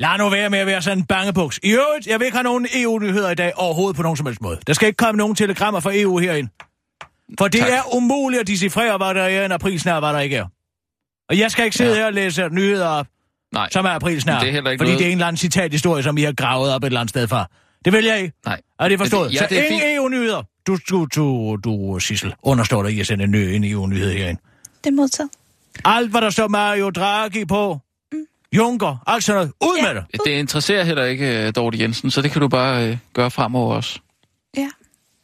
S4: Lad nu være med at være sådan en bangebuks. I øvrigt, jeg vil ikke have nogen EU-nyheder i dag overhovedet på nogen som helst måde. Der skal ikke komme nogen telegrammer fra EU herind. For det
S2: Tak.
S4: tak. er umuligt at decifrere, hvad der er en aprilsnær, hvad der ikke er. Og jeg skal ikke sidde
S2: Ja.
S4: ja. her og læse nyheder op,
S2: nej.
S4: som er aprilsnær.
S2: Det er heller ikke
S4: fordi
S2: noget-
S4: det er en eller anden citathistorie, som I har gravet op et eller andet sted fra. Det vil jeg ikke.
S2: Nej.
S4: Er det forstået?
S2: Ja,
S4: Så
S2: det er
S4: ingen
S2: fint.
S4: EU-nyheder. Du, du, du, du, Sissel, understår dig i at sende en, ny, en EU-nyhed herind.
S5: Det er modtaget.
S4: Alt, hvad der står Mario Draghi på, Juncker, alt sådan noget. Ud
S5: Ja.
S4: med det.
S2: Det interesserer heller ikke uh, Dorte Jensen, så det kan du bare uh, gøre fremover også.
S5: Ja.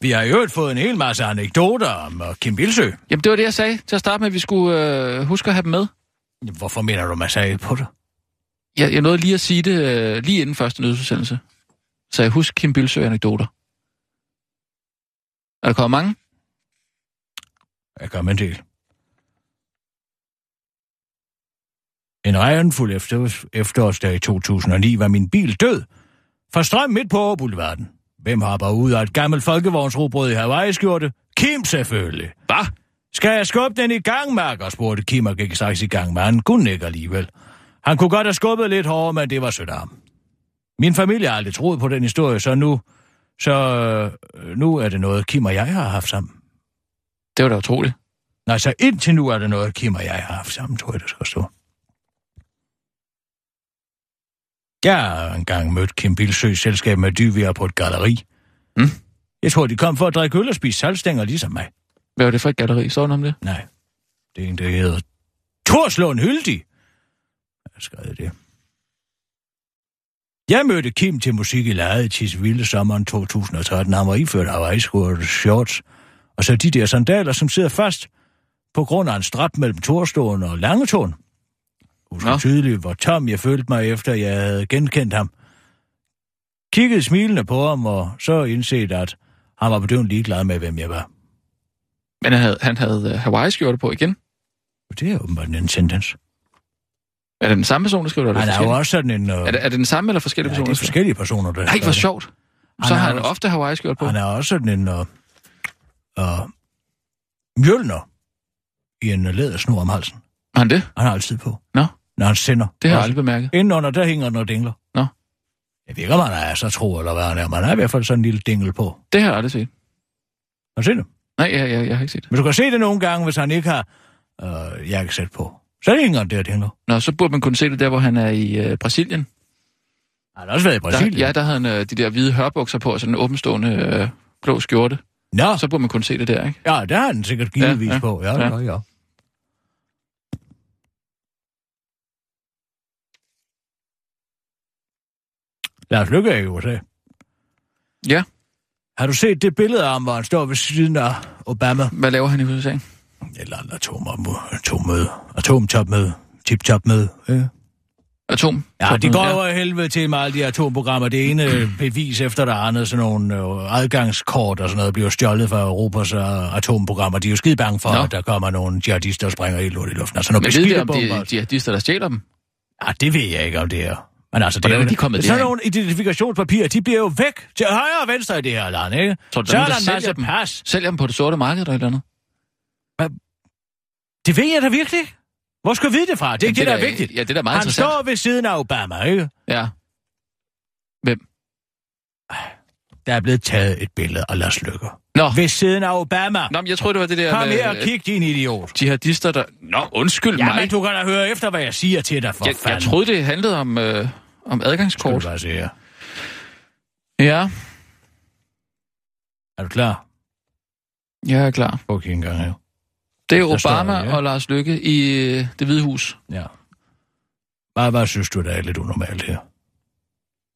S4: Vi har i øvrigt fået en hel masse anekdoter om øh, Kim Bilsø.
S2: Jamen, det var det, jeg sagde til at starte med, at vi skulle uh, huske at have dem med.
S4: Hvorfor mener du, man sagde på det?
S2: Jeg, jeg nåede lige at sige det uh, lige inden første nyhedsudsendelse. Så jeg husker Kim Bilsø anekdoter. Er der kommet mange?
S4: Jeg gør mig en del. En regnfuld efter, efterårsdag i 2009 var min bil død. For strøm midt på Boulevarden. Hvem hopper ud af et gammelt folkevognsrobrød i Hawaii-skjorte? Kim selvfølgelig. Hvad? Skal jeg skubbe den i gang, Marker? spurgte Kim og gik straks i gang, men han kunne ikke alligevel. Han kunne godt have skubbet lidt hårdere, men det var sødt af ham. Min familie har aldrig troet på den historie, så nu, så øh, nu er det noget, Kim og jeg har haft sammen.
S2: Det var da utroligt.
S4: Nej, så indtil nu er det noget, Kim og jeg har haft sammen, tror jeg, der skal stå. Jeg har engang mødt Kim Bilsøs selskab med dyvier på et galleri.
S2: Mm.
S4: Jeg tror, de kom for at drikke øl og spise salgstænger ligesom mig.
S2: Hvad var det for et galleri? Står der om det?
S4: Nej, det er en, der hedder Torslund Hyldig. Jeg skrev det. Jeg mødte Kim til musik i lejet i Tisvilde sommeren 2013. Han var iført hawaii shorts, og så de der sandaler, som sidder fast på grund af en strap mellem Torståen og Langetåen. Husker
S2: Nå.
S4: tydeligt, hvor tom jeg følte mig, efter jeg havde genkendt ham. Kiggede smilende på ham, og så indset, at han var bedøvende ligeglad med, hvem jeg var.
S2: Men han havde, han havde uh, Hawaii-skjorte på igen.
S4: Og det er åbenbart en tendens.
S2: Er det den samme person, der skriver det? eller
S4: Han er jo
S2: forskellige?
S4: også sådan en... Øh,
S2: er det, er det den samme eller forskellige
S4: ja,
S2: personer?
S4: det er forskellige personer, der...
S2: Nej, hvor sjovt. Så
S4: er
S2: har han
S4: også-
S2: ofte Hawaii-skjort på.
S4: Han er også sådan en... Øh, øh, mjølner i en øh, lædersnor om halsen.
S2: Har han det?
S4: Han har altid på.
S2: Nå.
S4: Når han sender.
S2: Det har jeg
S4: Også.
S2: aldrig bemærket.
S4: Indenunder, der hænger den og dingler.
S2: Nå.
S4: Jeg ved ikke, om han er så tro, eller hvad han er, men han har i hvert fald sådan en lille dingle på.
S2: Det har jeg aldrig set.
S4: Har du set det?
S2: Nej, jeg, jeg, jeg har ikke set det.
S4: Men du kan se det nogle gange, hvis han ikke har øh, jakkesæt på. Så hænger den der og dingler.
S2: Nå, så burde man kunne se det der, hvor han er i øh, Brasilien.
S4: Han har også været i Brasilien.
S2: Der, ja, der havde han øh, de der hvide hørbukser på, og sådan en åbenstående øh, blå skjorte.
S4: Nå,
S2: Og så burde man kunne se det der, ikke?
S4: ja, der har han sikkert givetvis
S2: ja,
S4: på. Ja,
S2: ja.
S4: ja, ja. Lars Lykke er i USA.
S2: Ja.
S4: Har du set det billede af ham, hvor han står ved siden af Obama?
S2: Hvad laver han i USA?
S4: Et eller andet atom, atommøde. Atomtopmøde. Tip-top-møde. Ja.
S2: Atom?
S4: Ja, de
S2: Topmøde,
S4: går over helvede til med alle de atomprogrammer. Det
S2: Mm.
S4: ene øh, bevis efter det andet, sådan nogle øh, adgangskort og sådan noget, bliver stjålet fra Europas øh, atomprogrammer. De er jo skide bange for,
S2: Nå.
S4: at der kommer nogle jihadister og springer helt lort i luften. Altså nogle
S2: Men ved vi, om
S4: beskidte
S2: det
S4: bomber.
S2: er
S4: De...
S2: jihadister, der stjæler dem?
S4: Ja, Ah, det ved jeg ikke om det er. Men altså, det
S2: Hvordan
S4: er,
S2: er de kommet
S4: Sådan
S2: derhen?
S4: nogle identifikationspapirer, de bliver jo væk til højre og venstre i det her land, ikke?
S2: Tror du, der
S4: Så er
S2: er nogen,
S4: der
S2: der
S4: en
S2: sælger
S4: masse
S2: dem?
S4: pas.
S2: Sælger dem på det sorte marked eller et eller andet?
S4: Det ved jeg da virkelig. ikke. Hvor skal jeg vide det fra? Det er
S2: Jamen,
S4: ikke det, der
S2: da-
S4: er vigtigt.
S2: Ja, det er da meget
S4: Han
S2: interessant.
S4: står ved siden af Obama, ikke?
S2: Ja.
S4: Der er blevet taget et billede af Lars Lykke.
S2: Nå.
S4: Ved siden af Obama.
S2: Nå, men jeg troede, det var det der
S4: Kom
S2: med
S4: her og
S2: øh,
S4: kig, din idiot.
S2: jihadister, der... Nå, undskyld
S4: Ja,
S2: mig.
S4: men du kan da høre efter, hvad jeg siger til dig, for
S2: jeg,
S4: fanden.
S2: jeg troede, det handlede om, øh, om
S4: Skal du
S2: adgangskort.
S4: bare se her.
S2: Ja,
S4: Er du klar?
S2: jeg er klar.
S4: Prøv at kigge en gang her.
S2: Det er
S4: Der står
S2: Obama
S4: det, ja.
S2: og Lars Lykke i øh, det hvide hus.
S4: Ja. Bare, hvad synes du, der er lidt unormalt her?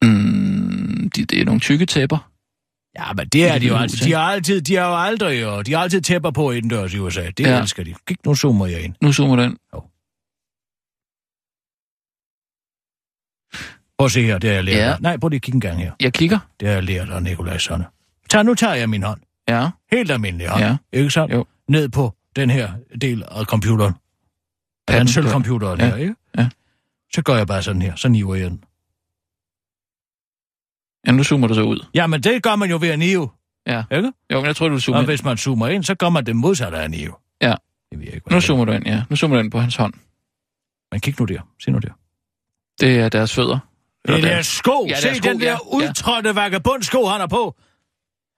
S2: Mm, de, det er nogle tykke tæpper.
S4: Ja, men det er de jo
S2: Lille
S4: altid.
S2: hus,
S4: De
S2: ikke?
S4: har, altid, de har jo aldrig, og de har altid tæpper på indendørs i USA. Det
S2: Ja.
S4: ja. elsker de. Kig, nu zoomer jeg ind.
S2: Nu zoomer den.
S4: Prøv at se her, det har jeg lært.
S2: Ja.
S4: dig. Nej, prøv lige at kigge en gang her.
S2: Jeg kigger.
S4: Det har jeg lært af Nikolaj Sonne. Tag, nu tager jeg min hånd.
S2: Ja,
S4: Helt almindelig hånd.
S2: Ja.
S4: Ikke sandt?
S2: Jo.
S4: Ned på den her del af computeren. Af
S2: Panden
S4: den
S2: på-
S4: sølvcomputeren
S2: ja.
S4: her, ikke?
S2: Ja.
S4: Så gør jeg bare sådan her. Så niver jeg den.
S2: ja nu zoomer du så ud.
S4: Jamen, det gør man jo ved at nive.
S2: Ja.
S4: Ikke?
S2: Jo, men jeg tror, du zoomer
S4: Og
S2: ind.
S4: hvis man zoomer ind, så gør man det modsatte af at nive.
S2: Ja.
S4: Det ved jeg
S2: Nu
S4: ikke, hvordan det er.
S2: zoomer du ind, ja. Nu zoomer du ind på hans hånd.
S4: Men kig nu der. Se nu der.
S2: Det er deres fødder.
S4: Det er
S2: Eller
S4: deres sko.
S2: Ja,
S4: Ja,
S2: deres
S4: Se
S2: sko,
S4: den
S2: ja.
S4: der
S2: Ja.
S4: udtrådte vagabundsko, han har på.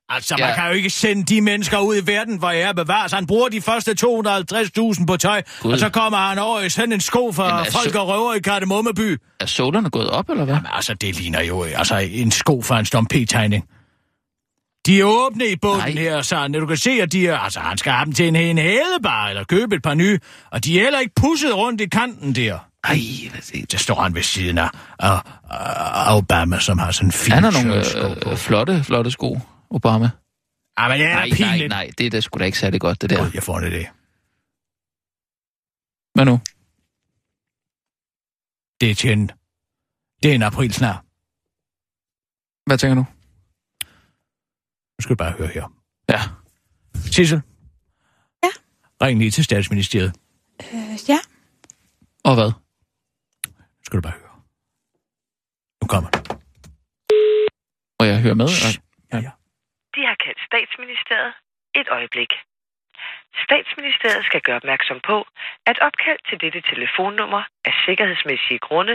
S4: Altså, man
S2: Ja.
S4: kan jo ikke sende de mennesker ud i verden, hvor jeg bevares. Han bruger de første 250.000 på tøj,
S2: Gud.
S4: og så kommer han over i sådan en sko fra
S2: Jamen,
S4: Jamen,
S2: altså-
S4: folk og røver i Kardemommeby.
S2: Er solerne gået op, eller hvad?
S4: Men altså, det ligner jo altså, en sko fra en stompe-tegning. De er åbne i bunden
S2: Nej.
S4: Nej. her, så du kan se, at de er, altså, han skal have dem til en, en hædebar, eller købe et par nye, og de er heller ikke pusset rundt i kanten der.
S2: Ej, hvad er det?
S4: Der står han ved siden af, af, af Obama, som har sådan en fin
S2: Han har nogle
S4: shirtsko på.
S2: øh, øh, flotte, flotte sko, Obama.
S4: Ah, men det
S2: Nej,
S4: er da
S2: nej,
S4: pinligt.
S2: nej, det er da sgu da ikke særlig godt, det der.
S4: Gud, jeg får en idé.
S2: Hvad nu?
S4: Det er tjent. Det er en april snart.
S2: Hvad tænker du?
S4: Nu skal du bare høre her.
S2: Ja.
S4: Sissel?
S5: Ja?
S4: Ring lige til statsministeriet.
S5: Øh, ja.
S2: Og hvad?
S4: Nu skal du bare høre. Nu kommer den.
S2: Må jeg høre med? Og...
S4: Shh. Ja, ja.
S9: De har kaldt statsministeriet et øjeblik. Statsministeriet skal gøre opmærksom på, at opkald til dette telefonnummer af sikkerhedsmæssige grunde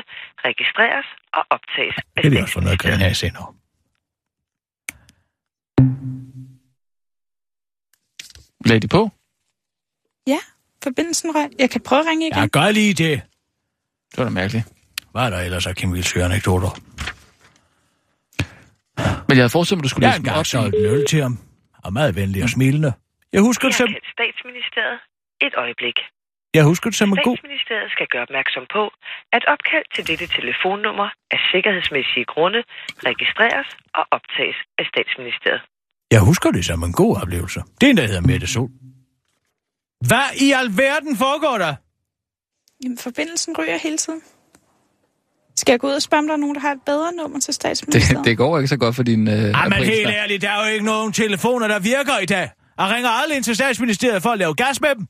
S9: registreres og optages af
S4: Det vil jeg også få noget grin
S9: statsministeriet.
S4: af senere.
S2: Lad de på.
S5: Ja. Forbindelsen røg. Jeg kan prøve at ringe igen.
S4: Ja, gør lige det.
S2: Det var da mærkeligt.
S4: Hvad er der ellers af Kim Vilds anekdoter?
S2: Men jeg havde forestillet mig, du skulle
S4: Jeg har
S2: læse dem op.
S4: engang solgt en øl til ham. Og meget venlig og smilende. Jeg husker
S9: De
S4: det
S9: har
S4: som,
S9: kaldt statsministeriet et øjeblik.
S4: jeg husker det som en god...
S9: Statsministeriet skal gøre opmærksom på, at opkald til dette telefonnummer af sikkerhedsmæssige grunde registreres og optages af statsministeriet.
S4: Jeg husker det som en god oplevelse. Det er en, der hedder Mette Sol. Hvad i alverden foregår der?
S5: Jamen, forbindelsen ryger hele tiden. Skal jeg gå ud og spørge, om der er nogen, der har et bedre nummer til statsministeriet?
S2: Det, det går ikke så godt for din øh,
S4: Ej, men
S2: aprilsnar.
S4: helt ærligt, der er jo ikke nogen telefoner, der virker i dag. Og ringer aldrig ind til statsministeriet for at lave gas med dem.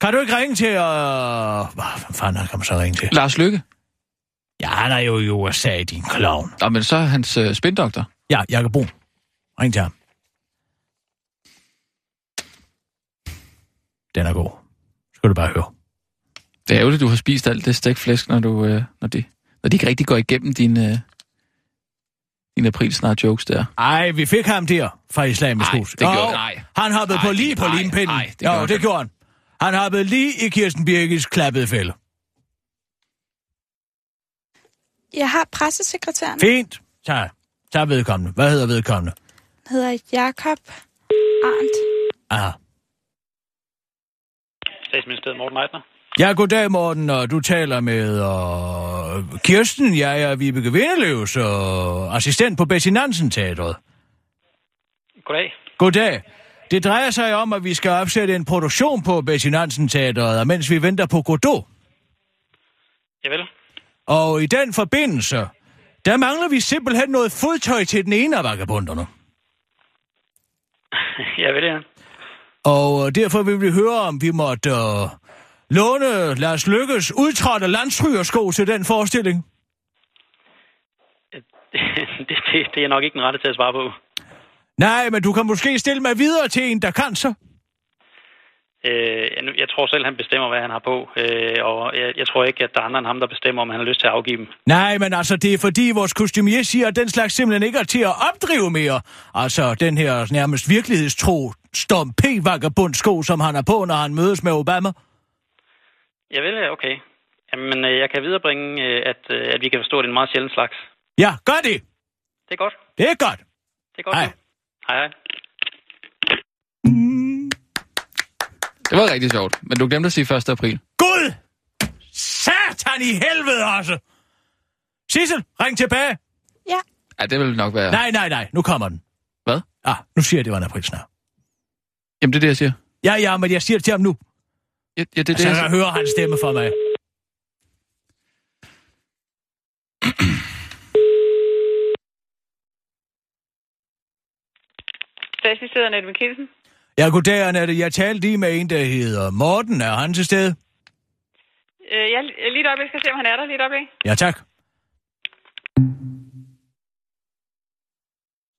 S4: Kan du ikke ringe til... Øh... Hvad fanden kan man så ringe til?
S2: Lars Lykke.
S4: Ja, han er jo i USA, din clown.
S2: Nå, men så er hans øh, spindoktor.
S4: Ja, Jakob Brun. Ring til ham. Den er god. Skal du bare høre.
S2: Det er ærgerligt, du har spist alt det stegflæsk, når, du, øh, når, de, når de ikke rigtig går igennem din, øh, din aprilsnar jokes der.
S4: Ej, vi fik ham der fra Islamisk
S2: Ej,
S4: Hus.
S2: det gjorde-
S4: Jo,
S2: nej.
S4: Han hoppede
S2: Ej,
S4: på lige
S2: det-
S4: på
S2: ej,
S4: limpinden.
S2: ej, det
S4: jo,
S2: gjorde han.
S4: det gjorde han. Han hoppede lige i Kirsten Birkes klappede fælde.
S5: Jeg har pressesekretæren.
S4: Fint. Tag, tag vedkommende. Hvad hedder vedkommende?
S5: Han hedder Jakob Arndt.
S4: Aha.
S10: Statsministeriet Morten Meitner.
S4: Ja, goddag Morten, og du taler med uh, Kirsten. Jeg er Vibeke Vindeløvs uh, assistent på Betty Nansen Teatret.
S10: Goddag.
S4: Goddag. Det drejer sig om, at vi skal opsætte en produktion på Betty Nansen Teatret, og mens vi venter på Godot.
S10: Javel.
S4: Og i den forbindelse, der mangler vi simpelthen noget fodtøj til den ene af vagabunderne.
S10: ja, ved det er.
S4: Og øh, derfor vil vi høre, om vi måtte øh, låne Lars Lykkes udtrådte landstrygersko til den forestilling.
S10: det, det, det er nok ikke den rette til at svare på.
S4: Nej, men du kan måske stille mig videre til en, der kan så.
S10: Øh, jeg, jeg tror selv, han bestemmer, hvad han har på, øh, og jeg, jeg tror ikke, at der er andre end ham, der bestemmer, om han har lyst til at afgive dem.
S4: Nej, men altså, det er fordi vores kostumier siger, at den slags simpelthen ikke er til at opdrive mere. Altså, den her nærmest virkelighedstro stom p vagabundsko som han har på, når han mødes med Obama.
S10: Jeg vil, okay. Jamen, øh, jeg kan viderebringe, øh, at, øh, at vi kan forstå, at det er en meget sjælden slags.
S4: Ja, gør det!
S10: Det er godt.
S4: Det er godt!
S10: Det er godt.
S4: Hej.
S10: ja. Hej, hej.
S2: Det var rigtig sjovt, men du glemte at sige 1. april.
S4: Gud! Satan i helvede også! Sissel, ring tilbage!
S5: Ja.
S2: Ja, det ville nok være...
S4: Nej, nej, nej, nu kommer den.
S2: Hvad?
S4: Ah, nu siger jeg, det var en april snart.
S2: Jamen, det er det, jeg siger.
S4: Ja, ja, men jeg siger det til ham nu.
S2: Ja, ja det er det,
S4: Så
S2: jeg
S4: Altså, jeg
S2: siger.
S4: hører hans stemme for mig.
S11: Statsminister Annette Mikkelsen.
S4: Ja, goddag, Annette. Jeg talte lige med en, der hedder Morten. Er han til stede?
S11: Øh, ja, li- lige et øjeblik. Skal jeg se, om han er der lige et øjeblik.
S4: Ja, tak.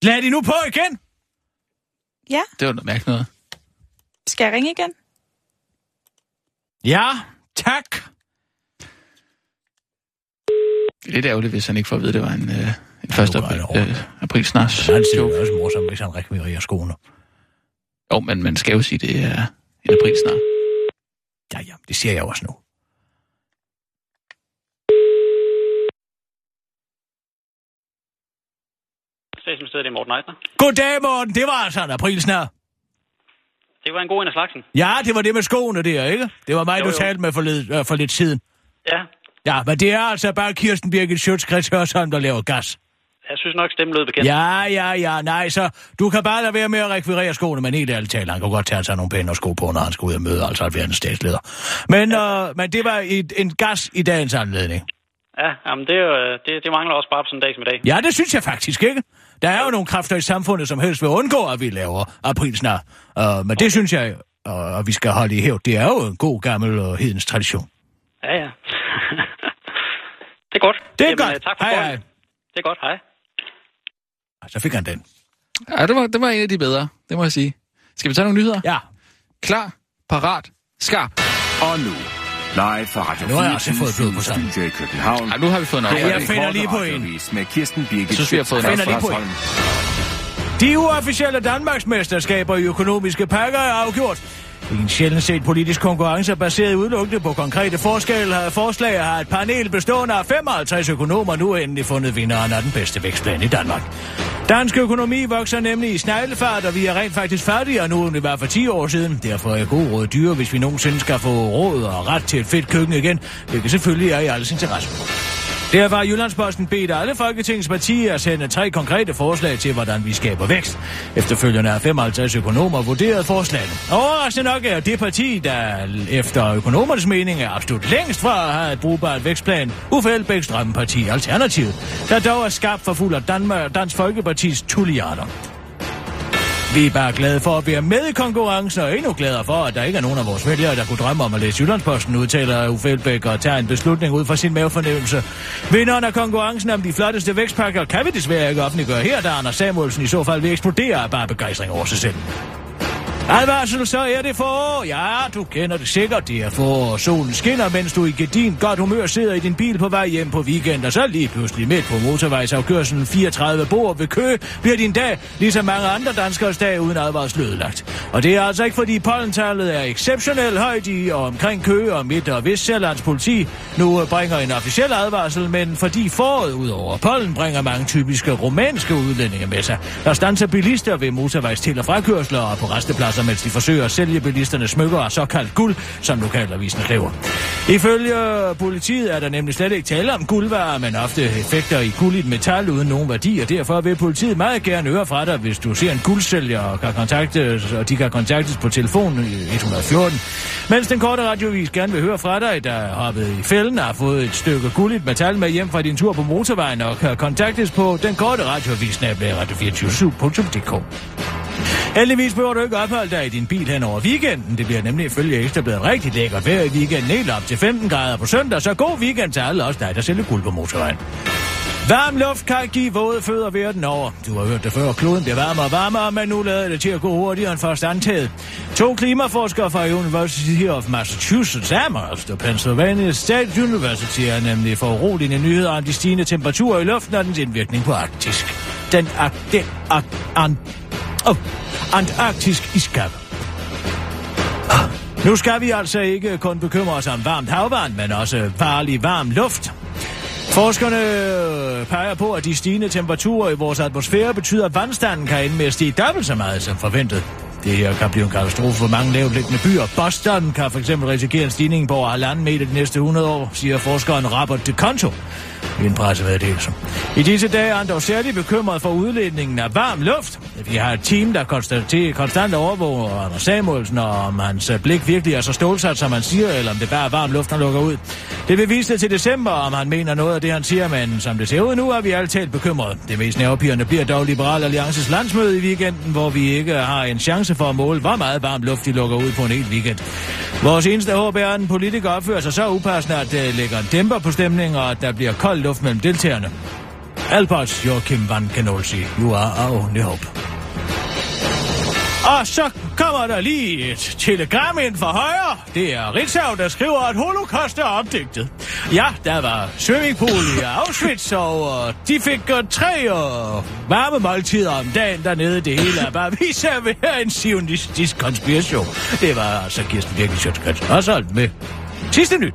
S4: Lad de nu på igen!
S5: Ja,
S2: Det var noget mærkeligt noget.
S5: skal jeg ringe igen?
S4: Ja, tak.
S2: Det er lidt ærgerligt, hvis han ikke får at vide, det var en, øh, en 1. april, øh, april snars.
S4: Han siger jo også morsomt, hvis han rekvirerer skoene.
S2: Jo, men man skal jo sige, det er en april snart.
S4: Ja, ja, det siger jeg også nu.
S10: Statsministeriet, det er Morten Eisner.
S4: Goddag, Morten. Det var altså en aprilsnær.
S10: Det var en god en af slagsen.
S4: Ja, det var det med skoene der, ikke? Det var mig,
S10: Jo,
S4: du
S10: jo.
S4: talte med for, led, øh, for lidt siden.
S10: Ja,
S4: Ja, men det er altså bare Kirsten Birgit Sjøtskrets Hørsholm, der laver gas.
S10: jeg synes nok, stemmen lød bekendt.
S4: Ja, ja, ja, nej, så du kan bare lade være med at rekvirere skoene, men helt ærligt talt, han kan godt tage sig nogle pæne sko på, når han skal ud og møde altså verdens statsleder. Men, øh, men det var et, en gas i dagens anledning.
S10: Ja, jamen det, er jo, øh, det, det mangler også bare på sådan en dag som i dag.
S4: Ja, det synes jeg faktisk ikke. Der er jo nogle kræfter i samfundet, som helst vil undgå, at vi laver aprilsnar. Uh, men det synes jeg, uh, at vi skal holde i hævd. Det er jo en god gammel uh, hedens tradition.
S10: Ja, ja. det er godt.
S4: Det er
S10: Jamen,
S4: godt.
S10: øh, Tak for
S4: Hej,
S10: hej,
S4: hej.
S10: Det er godt, hej.
S4: Og Så fik han den.
S2: Ja, det var, det var en af de bedre, det må jeg sige. Skal vi tage nogle nyheder?
S4: Ja.
S2: Klar, parat, skarp.
S6: Og nu, live fra Radio
S4: Nu har jeg også fået blod på
S6: 24
S4: tanden.
S6: Studio i København.
S2: Ja, nu har vi fået nok.
S6: Her er
S4: Jeg
S6: den
S4: finder
S6: korte
S4: lige på en.
S6: radioavis Med Kirsten Birgit
S2: Jeg synes, vi har fået
S6: Schøtz-Krets
S4: nok. Finder lige på en.
S6: Hørsholm.
S4: De uofficielle Danmarksmesterskaber i økonomiske pakker er afgjort. I en sjældent set politisk konkurrence baseret udelukkende på konkrete forskelle har forslag har et panel bestående af 55 økonomer nu endelig fundet vinderen af den bedste vækstplan i Danmark. Dansk økonomi vokser nemlig i sneglefart, og vi er rent faktisk fattigere nu, end vi var for 10 år siden. Derfor er god råd dyre, hvis vi nogensinde skal få råd og ret til et fedt køkken igen, hvilket selvfølgelig er i alles interesse. Derfor har Jyllandsposten bedt alle Folketingets partier at sende tre konkrete forslag til, hvordan vi skaber vækst. Efterfølgende har 55 økonomer vurderet forslagene. Overraskende nok er det parti, der efter økonomernes mening er absolut længst fra at have et brugbart vækstplan, Uffe Elbæk Strømparti Alternativet, der dog er skabt for fuld af Danmark, Dansk Folkepartis tulliarder. Vi er bare glade for at være med i konkurrencen, og endnu gladere for, at der ikke er nogen af vores vælgere, der kunne drømme om at læse Jyllandsposten, udtaler Uffe Elbæk og tager en beslutning ud fra sin mavefornemmelse. Vinderen af konkurrencen om de flotteste vækstpakker kan vi desværre ikke offentliggøre her, da Anders Samuelsen i så fald vil eksplodere af bare begejstring over sig selv. Advarsel, så er det forår. Ja, du kender det sikkert. Det er forår. Solen skinner, mens du i gedin godt humør sidder i din bil på vej hjem på weekend, og så lige pludselig midt på motorvejsafkørselen 34 bor ved kø, bliver din dag, ligesom mange andre danskers dag, uden advarsel ødelagt. Og det er altså ikke, fordi pollentallet er exceptionelt højt i og omkring Køge og Midt- og Vestsjællands politi. Nu øh, bringer en officiel advarsel, men fordi foråret ud over pollen bringer mange typiske rumænske udlændinge med sig, der stanser bilister ved motorvejs til- og frakørsler og på restepladser interesser, mens de forsøger at sælge bilisterne smykker af såkaldt guld, som lokalavisen kræver. Ifølge politiet er der nemlig slet ikke tale om guldvarer, men ofte effekter i guldigt metal uden nogen værdi, og derfor vil politiet meget gerne høre fra dig, hvis du ser en guldsælger og, kan kontaktes, og de kan kontaktes på telefonen 114. Mens den korte radiovis gerne vil høre fra dig, der er hoppet i fælden, har fået et stykke guldigt metal med hjem fra din tur på motorvejen og kan kontaktes på den korte radiovis, radio247.dk. Heldigvis behøver du ikke opholde dig i din bil hen over weekenden. Det bliver nemlig ifølge Ekstrabladet rigtig lækkert vejr i weekenden helt op til 15 grader på søndag, så god weekend til alle os dig, der sælger guld på motorvejen. Varm luft kan give våde fødder verden over. Du har hørt det før. Kloden bliver varmere og varmere, men nu lader det til at gå hurtigere end først antaget. To klimaforskere fra University of Massachusetts Amherst og Pennsylvania State University er nemlig foruroligende nyheder om de stigende temperaturer i luften og dens indvirkning på Arktis. Den, ak, den ak, an, oh, antarktisk iskap. Nu skal vi altså ikke kun bekymre os om varmt havvand, men også farlig varm luft. Forskerne peger på, at de stigende temperaturer i vores atmosfære betyder, at vandstanden kan ende med at stige dobbelt så meget som forventet. Det her kan blive en katastrofe for mange lavtliggende byer. Boston kan for eksempel risikere en stigning på over halvanden meter de næste 100 år, siger forskeren Robert DeConto i en pressemeddelelse. I disse dage er han dog særligt bekymret for udledningen af varm luft. Vi har et team, der konstaterer konstant overvåger Anders Samuelsen, og om hans øh, blik virkelig er så stålsat, som han siger, eller om det bare er varm luft, han lukker ud. Det vil vise sig til december, om han mener noget af det, han siger, men som det ser ud nu, er vi alt talt bekymrede. Det mest nervepirrende bliver dog Liberal Alliances landsmøde i weekenden, hvor vi ikke har en chance for at måle, hvor meget varm luft de lukker ud på en hel weekend. Vores eneste håb er, at en politiker opfører sig så upassende, at det lægger en dæmper på stemningen, og at der bliver kold luft mellem deltagerne. Alberts Joachim Van Canolsi, you are our only hope. Og så kommer der lige et telegram ind fra højre. Det er Ritzau, der skriver, at holocaust er opdigtet. Ja, der var swimmingpool i Auschwitz, og øh, de fik øh, tre øh, varme måltider om dagen dernede. Det hele er bare vist at være en sionistisk konspiration. Det var altså Kirsten virkelig Sjøtskrets. Og så med sidste nyt.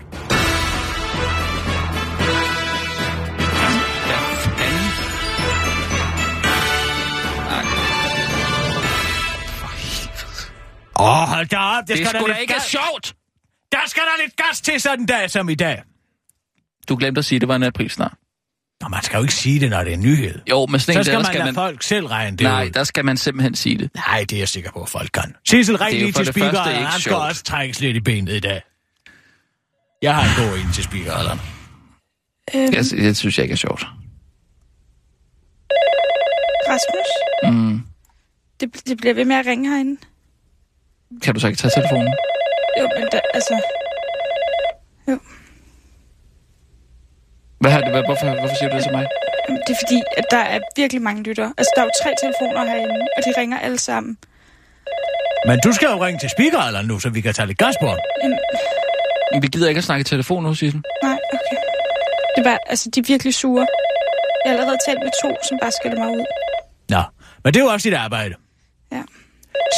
S4: Åh, oh, hold da op. Det,
S2: Det er
S4: skal
S2: sgu
S4: der
S2: da
S4: lidt
S2: ikke
S4: gas-
S2: sjovt.
S4: Der skal der lidt gas til sådan en dag som i dag.
S2: Du glemte at sige, at det var en aprilsnar.
S4: Nå, man skal jo ikke sige det, når det er en nyhed.
S2: Jo, men sådan en
S4: Så
S2: dag,
S4: skal
S2: der
S4: man
S2: skal
S4: lade
S2: man-
S4: folk selv regne det
S2: Nej,
S4: ud.
S2: der skal man simpelthen sige det.
S4: Nej, det er jeg sikker på, at folk kan. Sissel, ring
S2: Det er jo
S4: lige
S2: for
S4: til
S2: det første
S4: speakeren,
S2: ikke
S4: han skal
S2: sjovt.
S4: også trækkes lidt i benet i dag. Jeg har en god en til speakeren.
S5: Øhm,
S2: Jeg, det synes jeg ikke er sjovt.
S5: Rasmus,
S2: Mm.
S5: det, det bliver ved med at ringe herinde.
S2: Kan du så ikke tage telefonen?
S5: Jo, men der, altså...
S2: Hvad har det, hvad, hvorfor, hvorfor siger du det til mig?
S5: Jamen, Det er fordi, at der er virkelig mange lyttere. Altså, der er jo tre telefoner herinde, og de ringer alle sammen.
S4: Men du skal jo ringe til speakeren nu, så vi kan tage lidt gas på ham.
S5: Jamen,
S2: Vi gider ikke at snakke i telefon nu, Sissel.
S5: nej, okay. Det er bare, altså, de er virkelig sure. Jeg har allerede talt med to, som bare skælder mig ud.
S4: Nå, men det er jo også dit arbejde.
S5: Ja.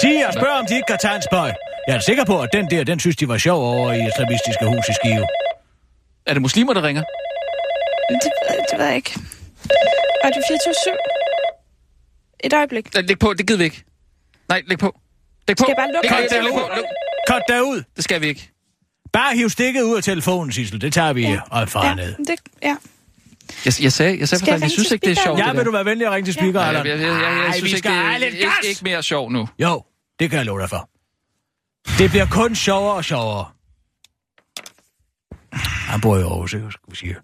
S4: Sig og spørg, om de ikke kan tage en spøj. Jeg er sikker på, at den der, den synes, de var sjov over i islamistiske hus i Skive.
S2: Er det muslimer, der ringer?
S5: Men Det, ved- det ved jeg ikke. Radio 24 Et øjeblik.
S2: Nej, Læg på, det gider vi ikke. Nej, læg på. Læg på.
S5: Skal jeg bare lukke
S2: Læg-
S5: det?
S2: læg- læg på. Læg-
S4: Cut derud!
S2: Det skal vi ikke.
S4: Bare hiv stikket ud af telefonen, Sissel. Det tager vi ja. og farer
S5: Ja,
S4: ned.
S5: det, ja.
S2: Jeg, jeg sagde, jeg sagde
S5: Skal
S2: faktisk,
S5: jeg
S2: jeg synes
S5: ringe
S2: ikke, det er
S5: til
S2: sjovt.
S4: Ja,
S2: det
S4: vil
S2: der.
S4: du være venlig at ringe til speakeren?
S2: Nej, jeg, jeg, jeg, jeg, jeg
S4: Ej,
S2: synes
S4: vi
S2: ikke,
S4: skal
S2: det er
S4: have lidt
S2: ikke,
S4: gas!
S2: ikke mere sjov nu.
S4: Jo, det kan jeg love dig for. Det bliver kun sjovere og sjovere. Han bor i Aarhus, ikke? Skal vi sige.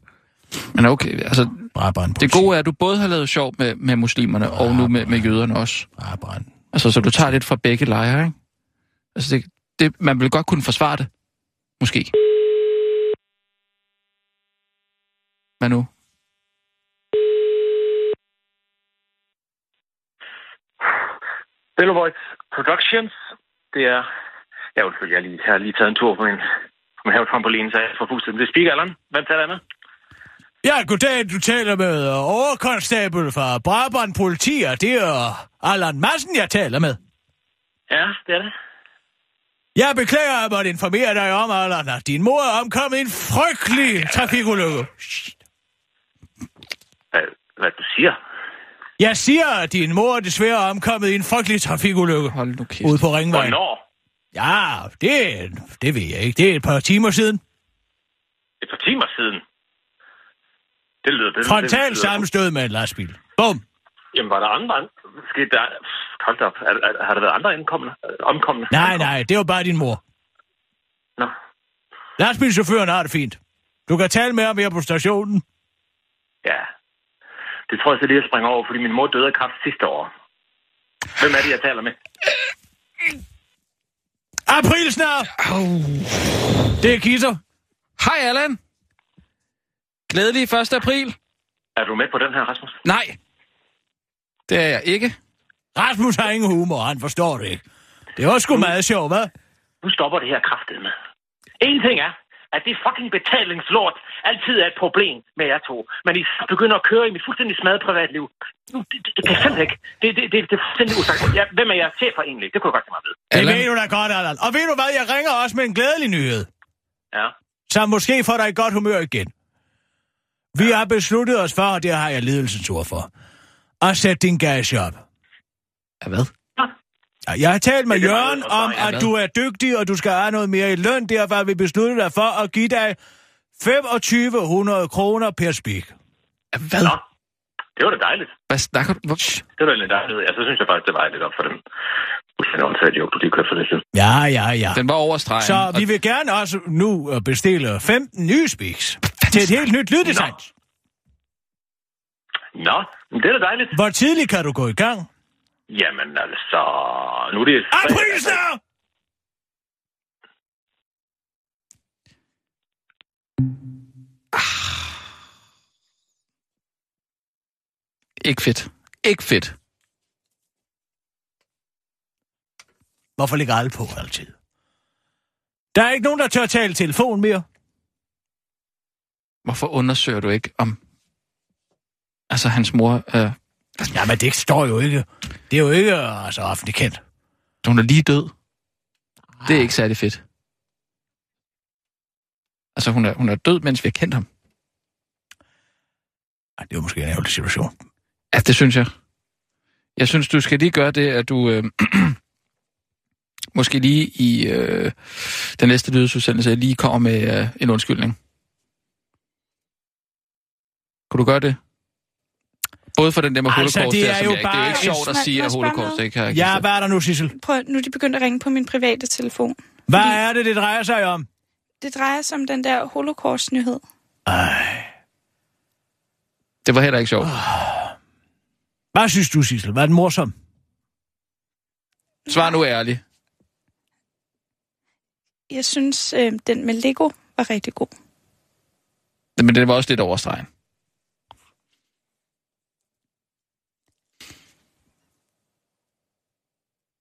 S2: Men okay, altså,
S4: Brabrand.
S2: det gode er, at du både har lavet sjov med, med muslimerne, og nu med, med jøderne også.
S4: Brabrand.
S2: Altså, så du tager lidt fra begge lejre, ikke? Altså, det, det, man vil godt kunne forsvare det. Måske. Hvad nu?
S12: Bellevoid Productions. Det er... Ja, undskyld, jeg lige, har lige taget en tur på min, på min havetrampoline, så jeg får pustet. Det er speakeralderen. Hvem taler jeg med?
S4: Ja, goddag, du taler med øh, overkonstabel fra Brabrand Politi, og det er øh, Allan Madsen, jeg taler med.
S12: Ja, det er det.
S4: Jeg beklager, at jeg måtte informere dig om, Allan, at din mor er omkommet i en frygtelig trafikulykke.
S12: Hvad, hvad du siger?
S4: Jeg siger, at din mor er desværre omkommet i en frygtelig trafikulykke.
S2: Hold nu kæft.
S4: Ude på ringvejen.
S12: Hvornår?
S4: Ja, det, er- det ved jeg ikke. Det er et par timer siden.
S12: Et par timer siden. Det lyder... Det,
S4: Frontal
S12: lyder-
S4: sammenstød med en lastbil. Bum.
S12: Jamen, var der andre... an- Skete der... Pff, Hold da op. Er, er, har der været andre indkommende? omkommende?
S4: Nej, nej, det var bare din mor.
S12: Nå.
S4: Lastbilchaufføren har det fint. Du kan tale med ham her på stationen.
S12: Ja. Det tror jeg så lige, jeg springer over, fordi min mor døde af kræft sidste år. Hvem er det, jeg taler med?
S4: April snart! Det er Kisser.
S2: Hej, Allan. Glædelig 1. april.
S12: Er du med på den her, Rasmus?
S2: Nej. Det er jeg ikke.
S4: Rasmus har ingen humor, han forstår det ikke. Det var
S2: Mm.
S4: sgu meget sjovt, hvad?
S12: Nu stopper det her kraftet med. En ting er, at det fucking betalingslort altid er et problem med jer to. Men I begynder at køre i mit fuldstændig smadret privatliv. Nu, det, det, det kan jeg simpelthen ikke. Det, det, det, det er fuldstændig usagt. Ja, hvem er jeres chefer egentlig? Det kunne jeg godt tænke mig at vide.
S4: Det ved du da godt, Allan. Og ved du hvad, jeg ringer også med en glædelig nyhed.
S12: Ja.
S4: Så måske får dig i godt humør igen. Vi har besluttet os for, og det har jeg ledelsens ord for, at sætte din gage op.
S2: Ja, hvad?
S4: Ja, Jeg har talt med
S12: Ja, det er meget
S4: Jørgen
S12: godt,
S4: om,
S12: ja,
S4: at
S12: hvad?
S4: du er dygtig, og du skal have noget mere i løn. Derfor har vi besluttet dig for at give dig 2500 kroner per spik.
S2: Hvad?
S12: Nå. Det var da dejligt.
S2: Hvad snakker du? Hvor-
S12: Det var da lidt dejligt. Altså, så synes jeg faktisk, det var lidt op for dem. Fuldstændig åndssvagt, jo, du lige kørte for det siden.
S4: Ja, ja, ja.
S2: Den var over stregen.
S4: Så
S2: og-
S4: vi vil gerne også nu øh, bestille 15 nye spiks til et helt nyt lyddesign.
S12: Nå, men det er da dejligt.
S4: Hvor tidligt kan du gå i gang?
S12: Jamen altså, nu er det...
S4: April snart!
S2: Ikke fedt. Ikke fedt.
S4: Hvorfor ligger alle på altid? Der er ikke nogen, der tør tale i telefon mere.
S2: Hvorfor undersøger du ikke om... Altså, hans mor... Øh,
S4: Jamen, det står jo ikke. Det er jo ikke øh, altså, offentligt kendt.
S2: hun er lige død. Det
S4: Ah.
S2: er ikke særlig fedt. Altså, hun er, hun er død, mens vi har kendt ham.
S4: Ej, det er jo måske en ærgerlig situation.
S2: Ja, det synes jeg. Jeg synes, du skal lige gøre det, at du... Øh, måske lige i øh, den næste lydesudsendelse lige kommer med øh, en undskyldning. Kunne du gøre det? Både for den der med
S4: Altså,
S2: holocaust
S4: det er
S2: der, som
S4: jo
S2: jeg ikke... Det er
S4: bare
S2: ikke
S4: en-
S2: sjovt at
S5: Må-
S2: sige,
S5: må
S2: at
S5: jeg spørge om
S2: holocaust
S5: noget?
S2: ikke har
S4: Ja, hvad er der nu, Sissel?
S5: Prøv, nu er de begyndt at ringe på min private telefon.
S4: Hvad er det, det drejer sig om?
S5: Det drejer sig om den der holocaust-nyhed.
S2: Det var heller ikke sjovt.
S4: Hvad synes du, Sissel? Var den morsom?
S2: Svar nu ærligt.
S5: Jeg synes, øh, den med Lego var rigtig god.
S2: Men det var også lidt overstregen.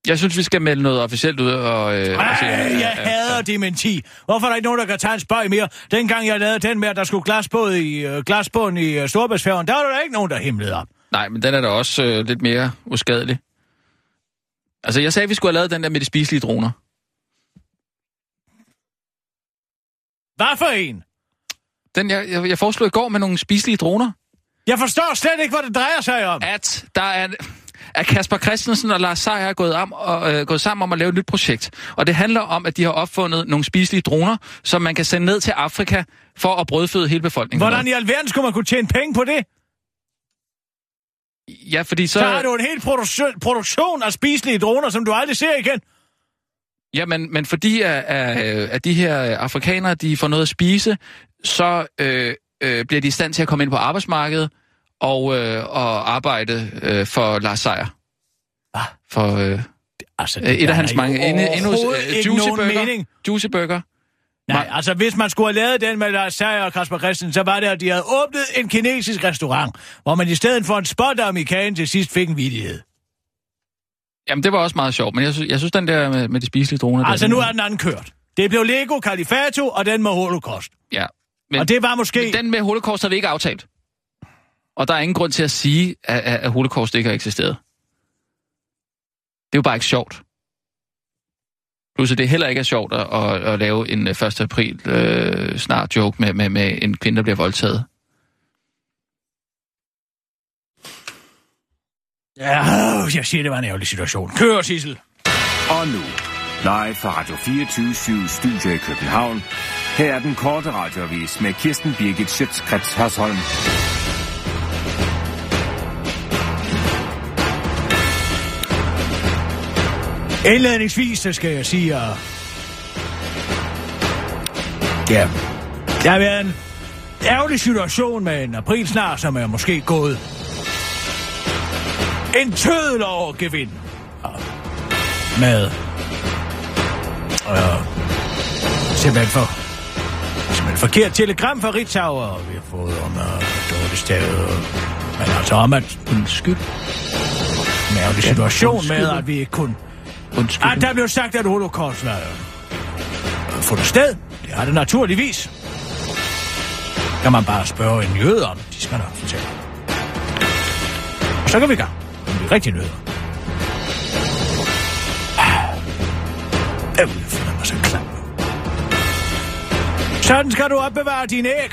S2: Jeg synes, vi skal melde noget officielt ud og... Øh, og se,
S4: Ej,
S2: øh,
S4: jeg
S2: øh,
S4: hader dementi. Hvorfor er der ikke nogen, der kan tage en spøg mere? Dengang jeg lavede den med, at der skulle glasbåd i, øh, glasbåden i øh, Storbritannien, der var der ikke nogen, der himlede op.
S2: Nej, men den er da også øh, lidt mere uskadelig. Altså, jeg sagde, at vi skulle have lavet den der med de spiselige droner.
S4: Hvad for en?
S2: Den, jeg, jeg, jeg foreslog i går med nogle spiselige droner,
S4: Jeg forstår slet ikke, hvad det drejer sig om.
S2: at der er... at Kasper Christensen og Lars Seier er gået, om, og, øh, gået sammen om at lave et nyt projekt. Og det handler om, at de har opfundet nogle spiselige droner, som man kan sende ned til Afrika for at brødføde hele befolkningen. med.
S4: Hvordan i alverden skulle man kunne tjene penge på det?
S2: Ja, fordi så...
S4: Så har du en hel produk- produktion af spiselige droner, som du aldrig ser igen.
S2: Ja, men, men fordi at, at, at de her øh, afrikanere, de får noget at spise, så øh, øh, bliver de i stand til at komme ind på arbejdsmarkedet og, øh, og arbejde øh, for Lars Seier.
S4: Hvad?
S2: For øh,
S4: Altså,
S2: øh, et
S4: Ah. der
S2: af hans
S4: er
S2: mange...
S4: jo
S2: En, en, en,
S4: overhovedet ikke
S2: juicy
S4: nogen
S2: burger,
S4: mening.
S2: juicy burger.
S4: Nej,
S2: Nej.
S4: altså hvis man skulle have lavet den med Lars Seier og Kasper Christensen, så var det, at de havde åbnet en kinesisk restaurant, hvor man i stedet for en spot om i kagen til sidst fik en vidighed.
S2: Jamen, det var også meget sjovt, men jeg synes, jeg synes den der med, med de spiselige droner...
S4: Altså
S2: den,
S4: nu er den anden kørt. Det blev Lego Califato og den med Holocaust.
S2: Ja,
S4: Men,
S2: Men-
S4: og det var måske...
S2: men den med holocaust har vi ikke aftalt. Og der er ingen grund til at sige, at, at, at holocaust ikke har eksisteret. Det er jo bare ikke sjovt. Plus, at det heller ikke er sjovt at, at, at lave en øh, 1. april øh, snart joke med, med, med en kvinde, der bliver voldtaget.
S4: Ja, jeg siger, det var en ærgerlig situation. Kør, Sissel.
S6: Og nu, live fra Radio 24 Studio i København. Her er den korte radiovis med Kirsten Birgit Schøtzgrads Hasholm.
S4: Indledningsvis, så skal jeg sige, at... Ja. Der har været en ærgerlig situation med en aprilsnar, som er måske gået. En tødel over gevind. Med... Øh, simpelthen for... Simpelthen forkert telegram fra Ritzau, og vi har fået om øh, dårligt stavet. øh, Men altså om at... Undskyld. En ærgerlig situation med,
S2: undskyld.
S4: at vi ikke kunne Undskyld. Ah, der blev sagt, at holocaust var øh, fundet sted. Det har det naturligvis. Kan man bare spørge en jøde om. De skal nok fortælle. Og så kan vi i gang. Men vi er rigtig jøder. Ah, Jeg vil finde mig så klam. Sådan skal du opbevare dine æg.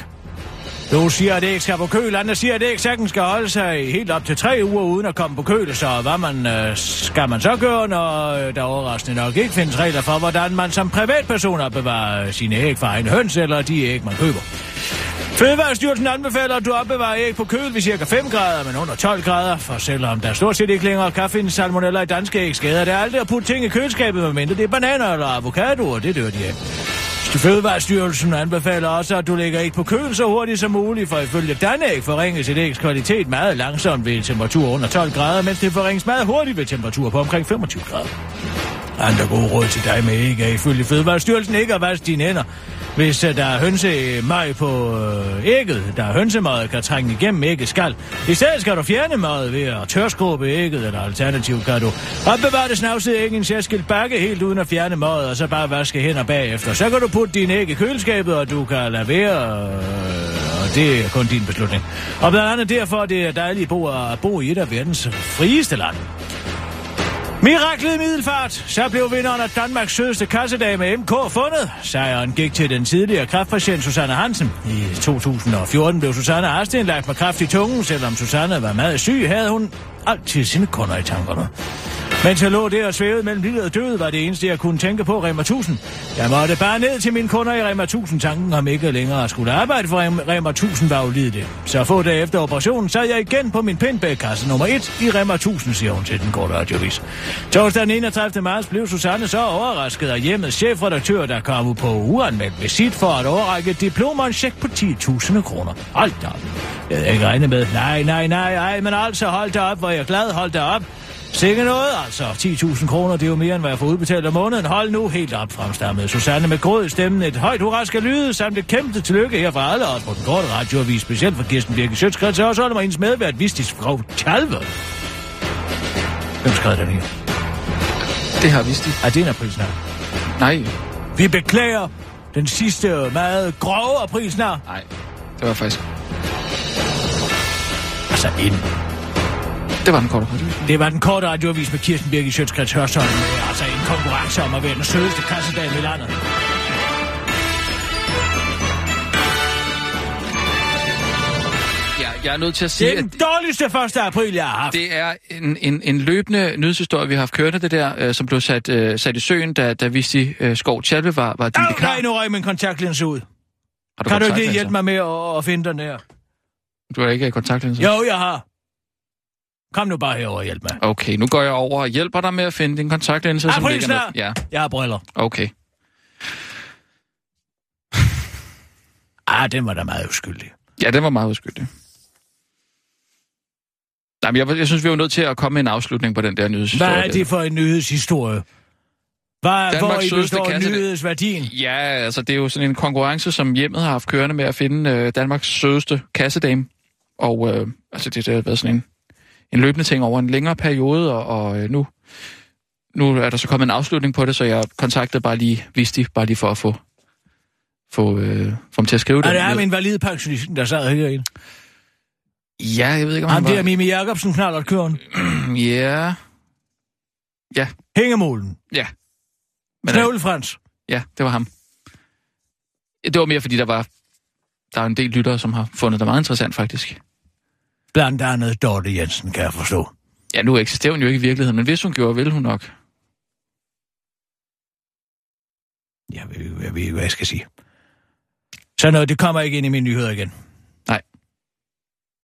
S4: Du siger, at det ikke skal på køl, andre siger, at det ikke sagtens skal holde sig helt op til tre uger uden at komme på køl, så hvad man, øh, skal man så gøre, når øh, der overraskende nok ikke findes regler for, hvordan man som privatperson opbevarer øh, sine æg fra en høns eller de æg, man køber. Fødevarestyrelsen anbefaler, at du opbevarer æg på køl ved cirka 5 grader, men under 12 grader, for selvom der stort set ikke længere kan findes salmonella i danske æg, skader det aldrig at putte ting i køleskabet, medmindre det er bananer eller avocadoer, det dør de af. Fødevarestyrelsen anbefaler også, at du lægger æg på køl så hurtigt som muligt, for ifølge Danæg forringes et ægs kvalitet meget langsomt ved temperatur under 12 grader, mens det forringes meget hurtigt ved temperatur på omkring 25 grader. Andre gode råd til dig med æg er ifølge Fødevarestyrelsen ikke at vaske dine hænder. Hvis øh, der er hønsemaj på øh, ægget, der er hønsemad, kan trænge igennem æggets skal. I stedet skal du fjerne mad ved at tørskåbe ægget, eller alternativt kan du opbevare det snavsede æg i en særskilt bakke helt uden at fjerne mad, og så bare vaske hænder bagefter. Så kan du putte dine æg i køleskabet, og du kan lade være... øh, og det er kun din beslutning. Og blandt andet derfor, det er dejligt at bo, at bo i et af verdens frieste lande. Miraklet middelfart. Så blev vinderen af Danmarks sødeste kassedag med MK fundet. Sejren gik til den tidligere kræftpatient Susanne Hansen. I 2014 blev Susanne Harsten lagt med kræft i tungen. Selvom Susanne var meget syg, havde hun altid sine kunder i tankerne. Mens jeg lå der og svævede mellem livet og død, var det eneste, jeg kunne tænke på Rema 1000. Jeg måtte bare ned til mine kunder i Rema 1000. Tanken om ikke længere at skulle arbejde for Rem- Rema 1000 var ulidelig. Så få dage efter operationen sad jeg igen på min pindbækkasse nummer 1 i Rema 1000, siger hun til den korte radiovis. Torsdag den 31. marts blev Susanne så overrasket af hjemmets chefredaktør, der kom på uanmeldt visit for at overrække et diplom og en check på 10.000 kroner. Hold da op. Det havde jeg ikke regnet med. Nej, nej, nej, nej, men altså hold da op, hvor er jeg glad, hold da op. Sikke noget, altså. 10.000 kroner, det er jo mere, end hvad jeg får udbetalt om måneden. Hold nu helt op, fremstammede Susanne med gråd i stemmen. Et højt hurra skal lyde, samt et kæmpe tillykke her fra alle os på den korte radioavis, specielt for Kirsten Birke Sjøtskrets, og også holder mig hendes medvært, Vistis Frov Tjalve. Hvem skrev den her? Det har Visti. Er det en aprilsnar? Nej. Vi beklager den sidste meget grove aprilsnar. Nej, det var faktisk... Altså en det var den korte radioavis. Det var den korte radioavis med Kirsten Birgit Sjøtskrets Hørsholm. Altså en konkurrence om at være den sødeste kassedame i landet.
S2: Jeg, jeg er nødt til at
S4: Det
S2: sige,
S4: er
S2: at
S4: den dårligste 1. april, jeg har haft.
S2: det er en, en, en løbende nyhedshistorie, vi har haft kørende det der, øh, som blev sat, øh, sat i søen, da, da Visti øh, Skov Tjalve var, var din
S4: Au,
S2: vikar.
S4: nej, nu røg min kontaktlinse ud.
S2: Har
S4: Kan du ikke lige
S2: kontaktlinser?
S4: hjælpe mig med at, at finde den her?
S2: Du har ikke kontaktlinser?
S4: Jo, jeg har. Kom nu bare herover og hjælp mig.
S2: Okay, nu går jeg over og hjælper dig med at finde din
S4: Ah,
S2: kontaktlinse, som ligger
S4: Aprilsnar!
S2: med... Ja,
S4: Jeg har briller.
S2: okay.
S4: Ah, den var da meget uskyldig.
S2: Ja, den var meget udskyldig. Nej, men jeg, jeg synes, vi er jo nødt til at komme med en afslutning på den der nyhedshistorie.
S4: Hvad er det for en nyhedshistorie? Hvad, hvor
S2: Danmarks
S4: I
S2: sødeste
S4: består
S2: kassedame.
S4: nyhedsværdien?
S2: Ja, altså det er jo sådan en konkurrence, som hjemmet har haft kørende med at finde øh, Danmarks sødeste kassedame. Og øh, altså det, det har været sådan en, en løbende ting over en længere periode, og, og øh, nu, nu er der så kommet en afslutning på det, så jeg kontaktede bare lige Visti, bare lige for at få, få, øh, få dem til at skrive
S4: Er det
S2: ned.
S4: ham, en valid pensionist, der sad herinde?
S2: Ja, jeg ved ikke, om
S4: Ham
S2: han
S4: der
S2: var...
S4: Mimi Jacobsen knallert køren.
S2: Ja. Ja,
S4: Hængemolen.
S2: ja. Men, øh,
S4: Snøvlefrans.
S2: ja, det var ham. Det var mere, fordi der var... Der er en del lyttere, som har fundet det meget interessant, faktisk.
S4: Blandt andet Dorte Jensen, kan jeg forstå.
S2: Ja, nu eksisterer hun jo ikke i virkeligheden, men hvis hun gjorde, ville hun nok.
S4: Jeg ved, jeg ved ikke, hvad jeg skal sige. Så noget, det kommer ikke ind i mine nyheder igen.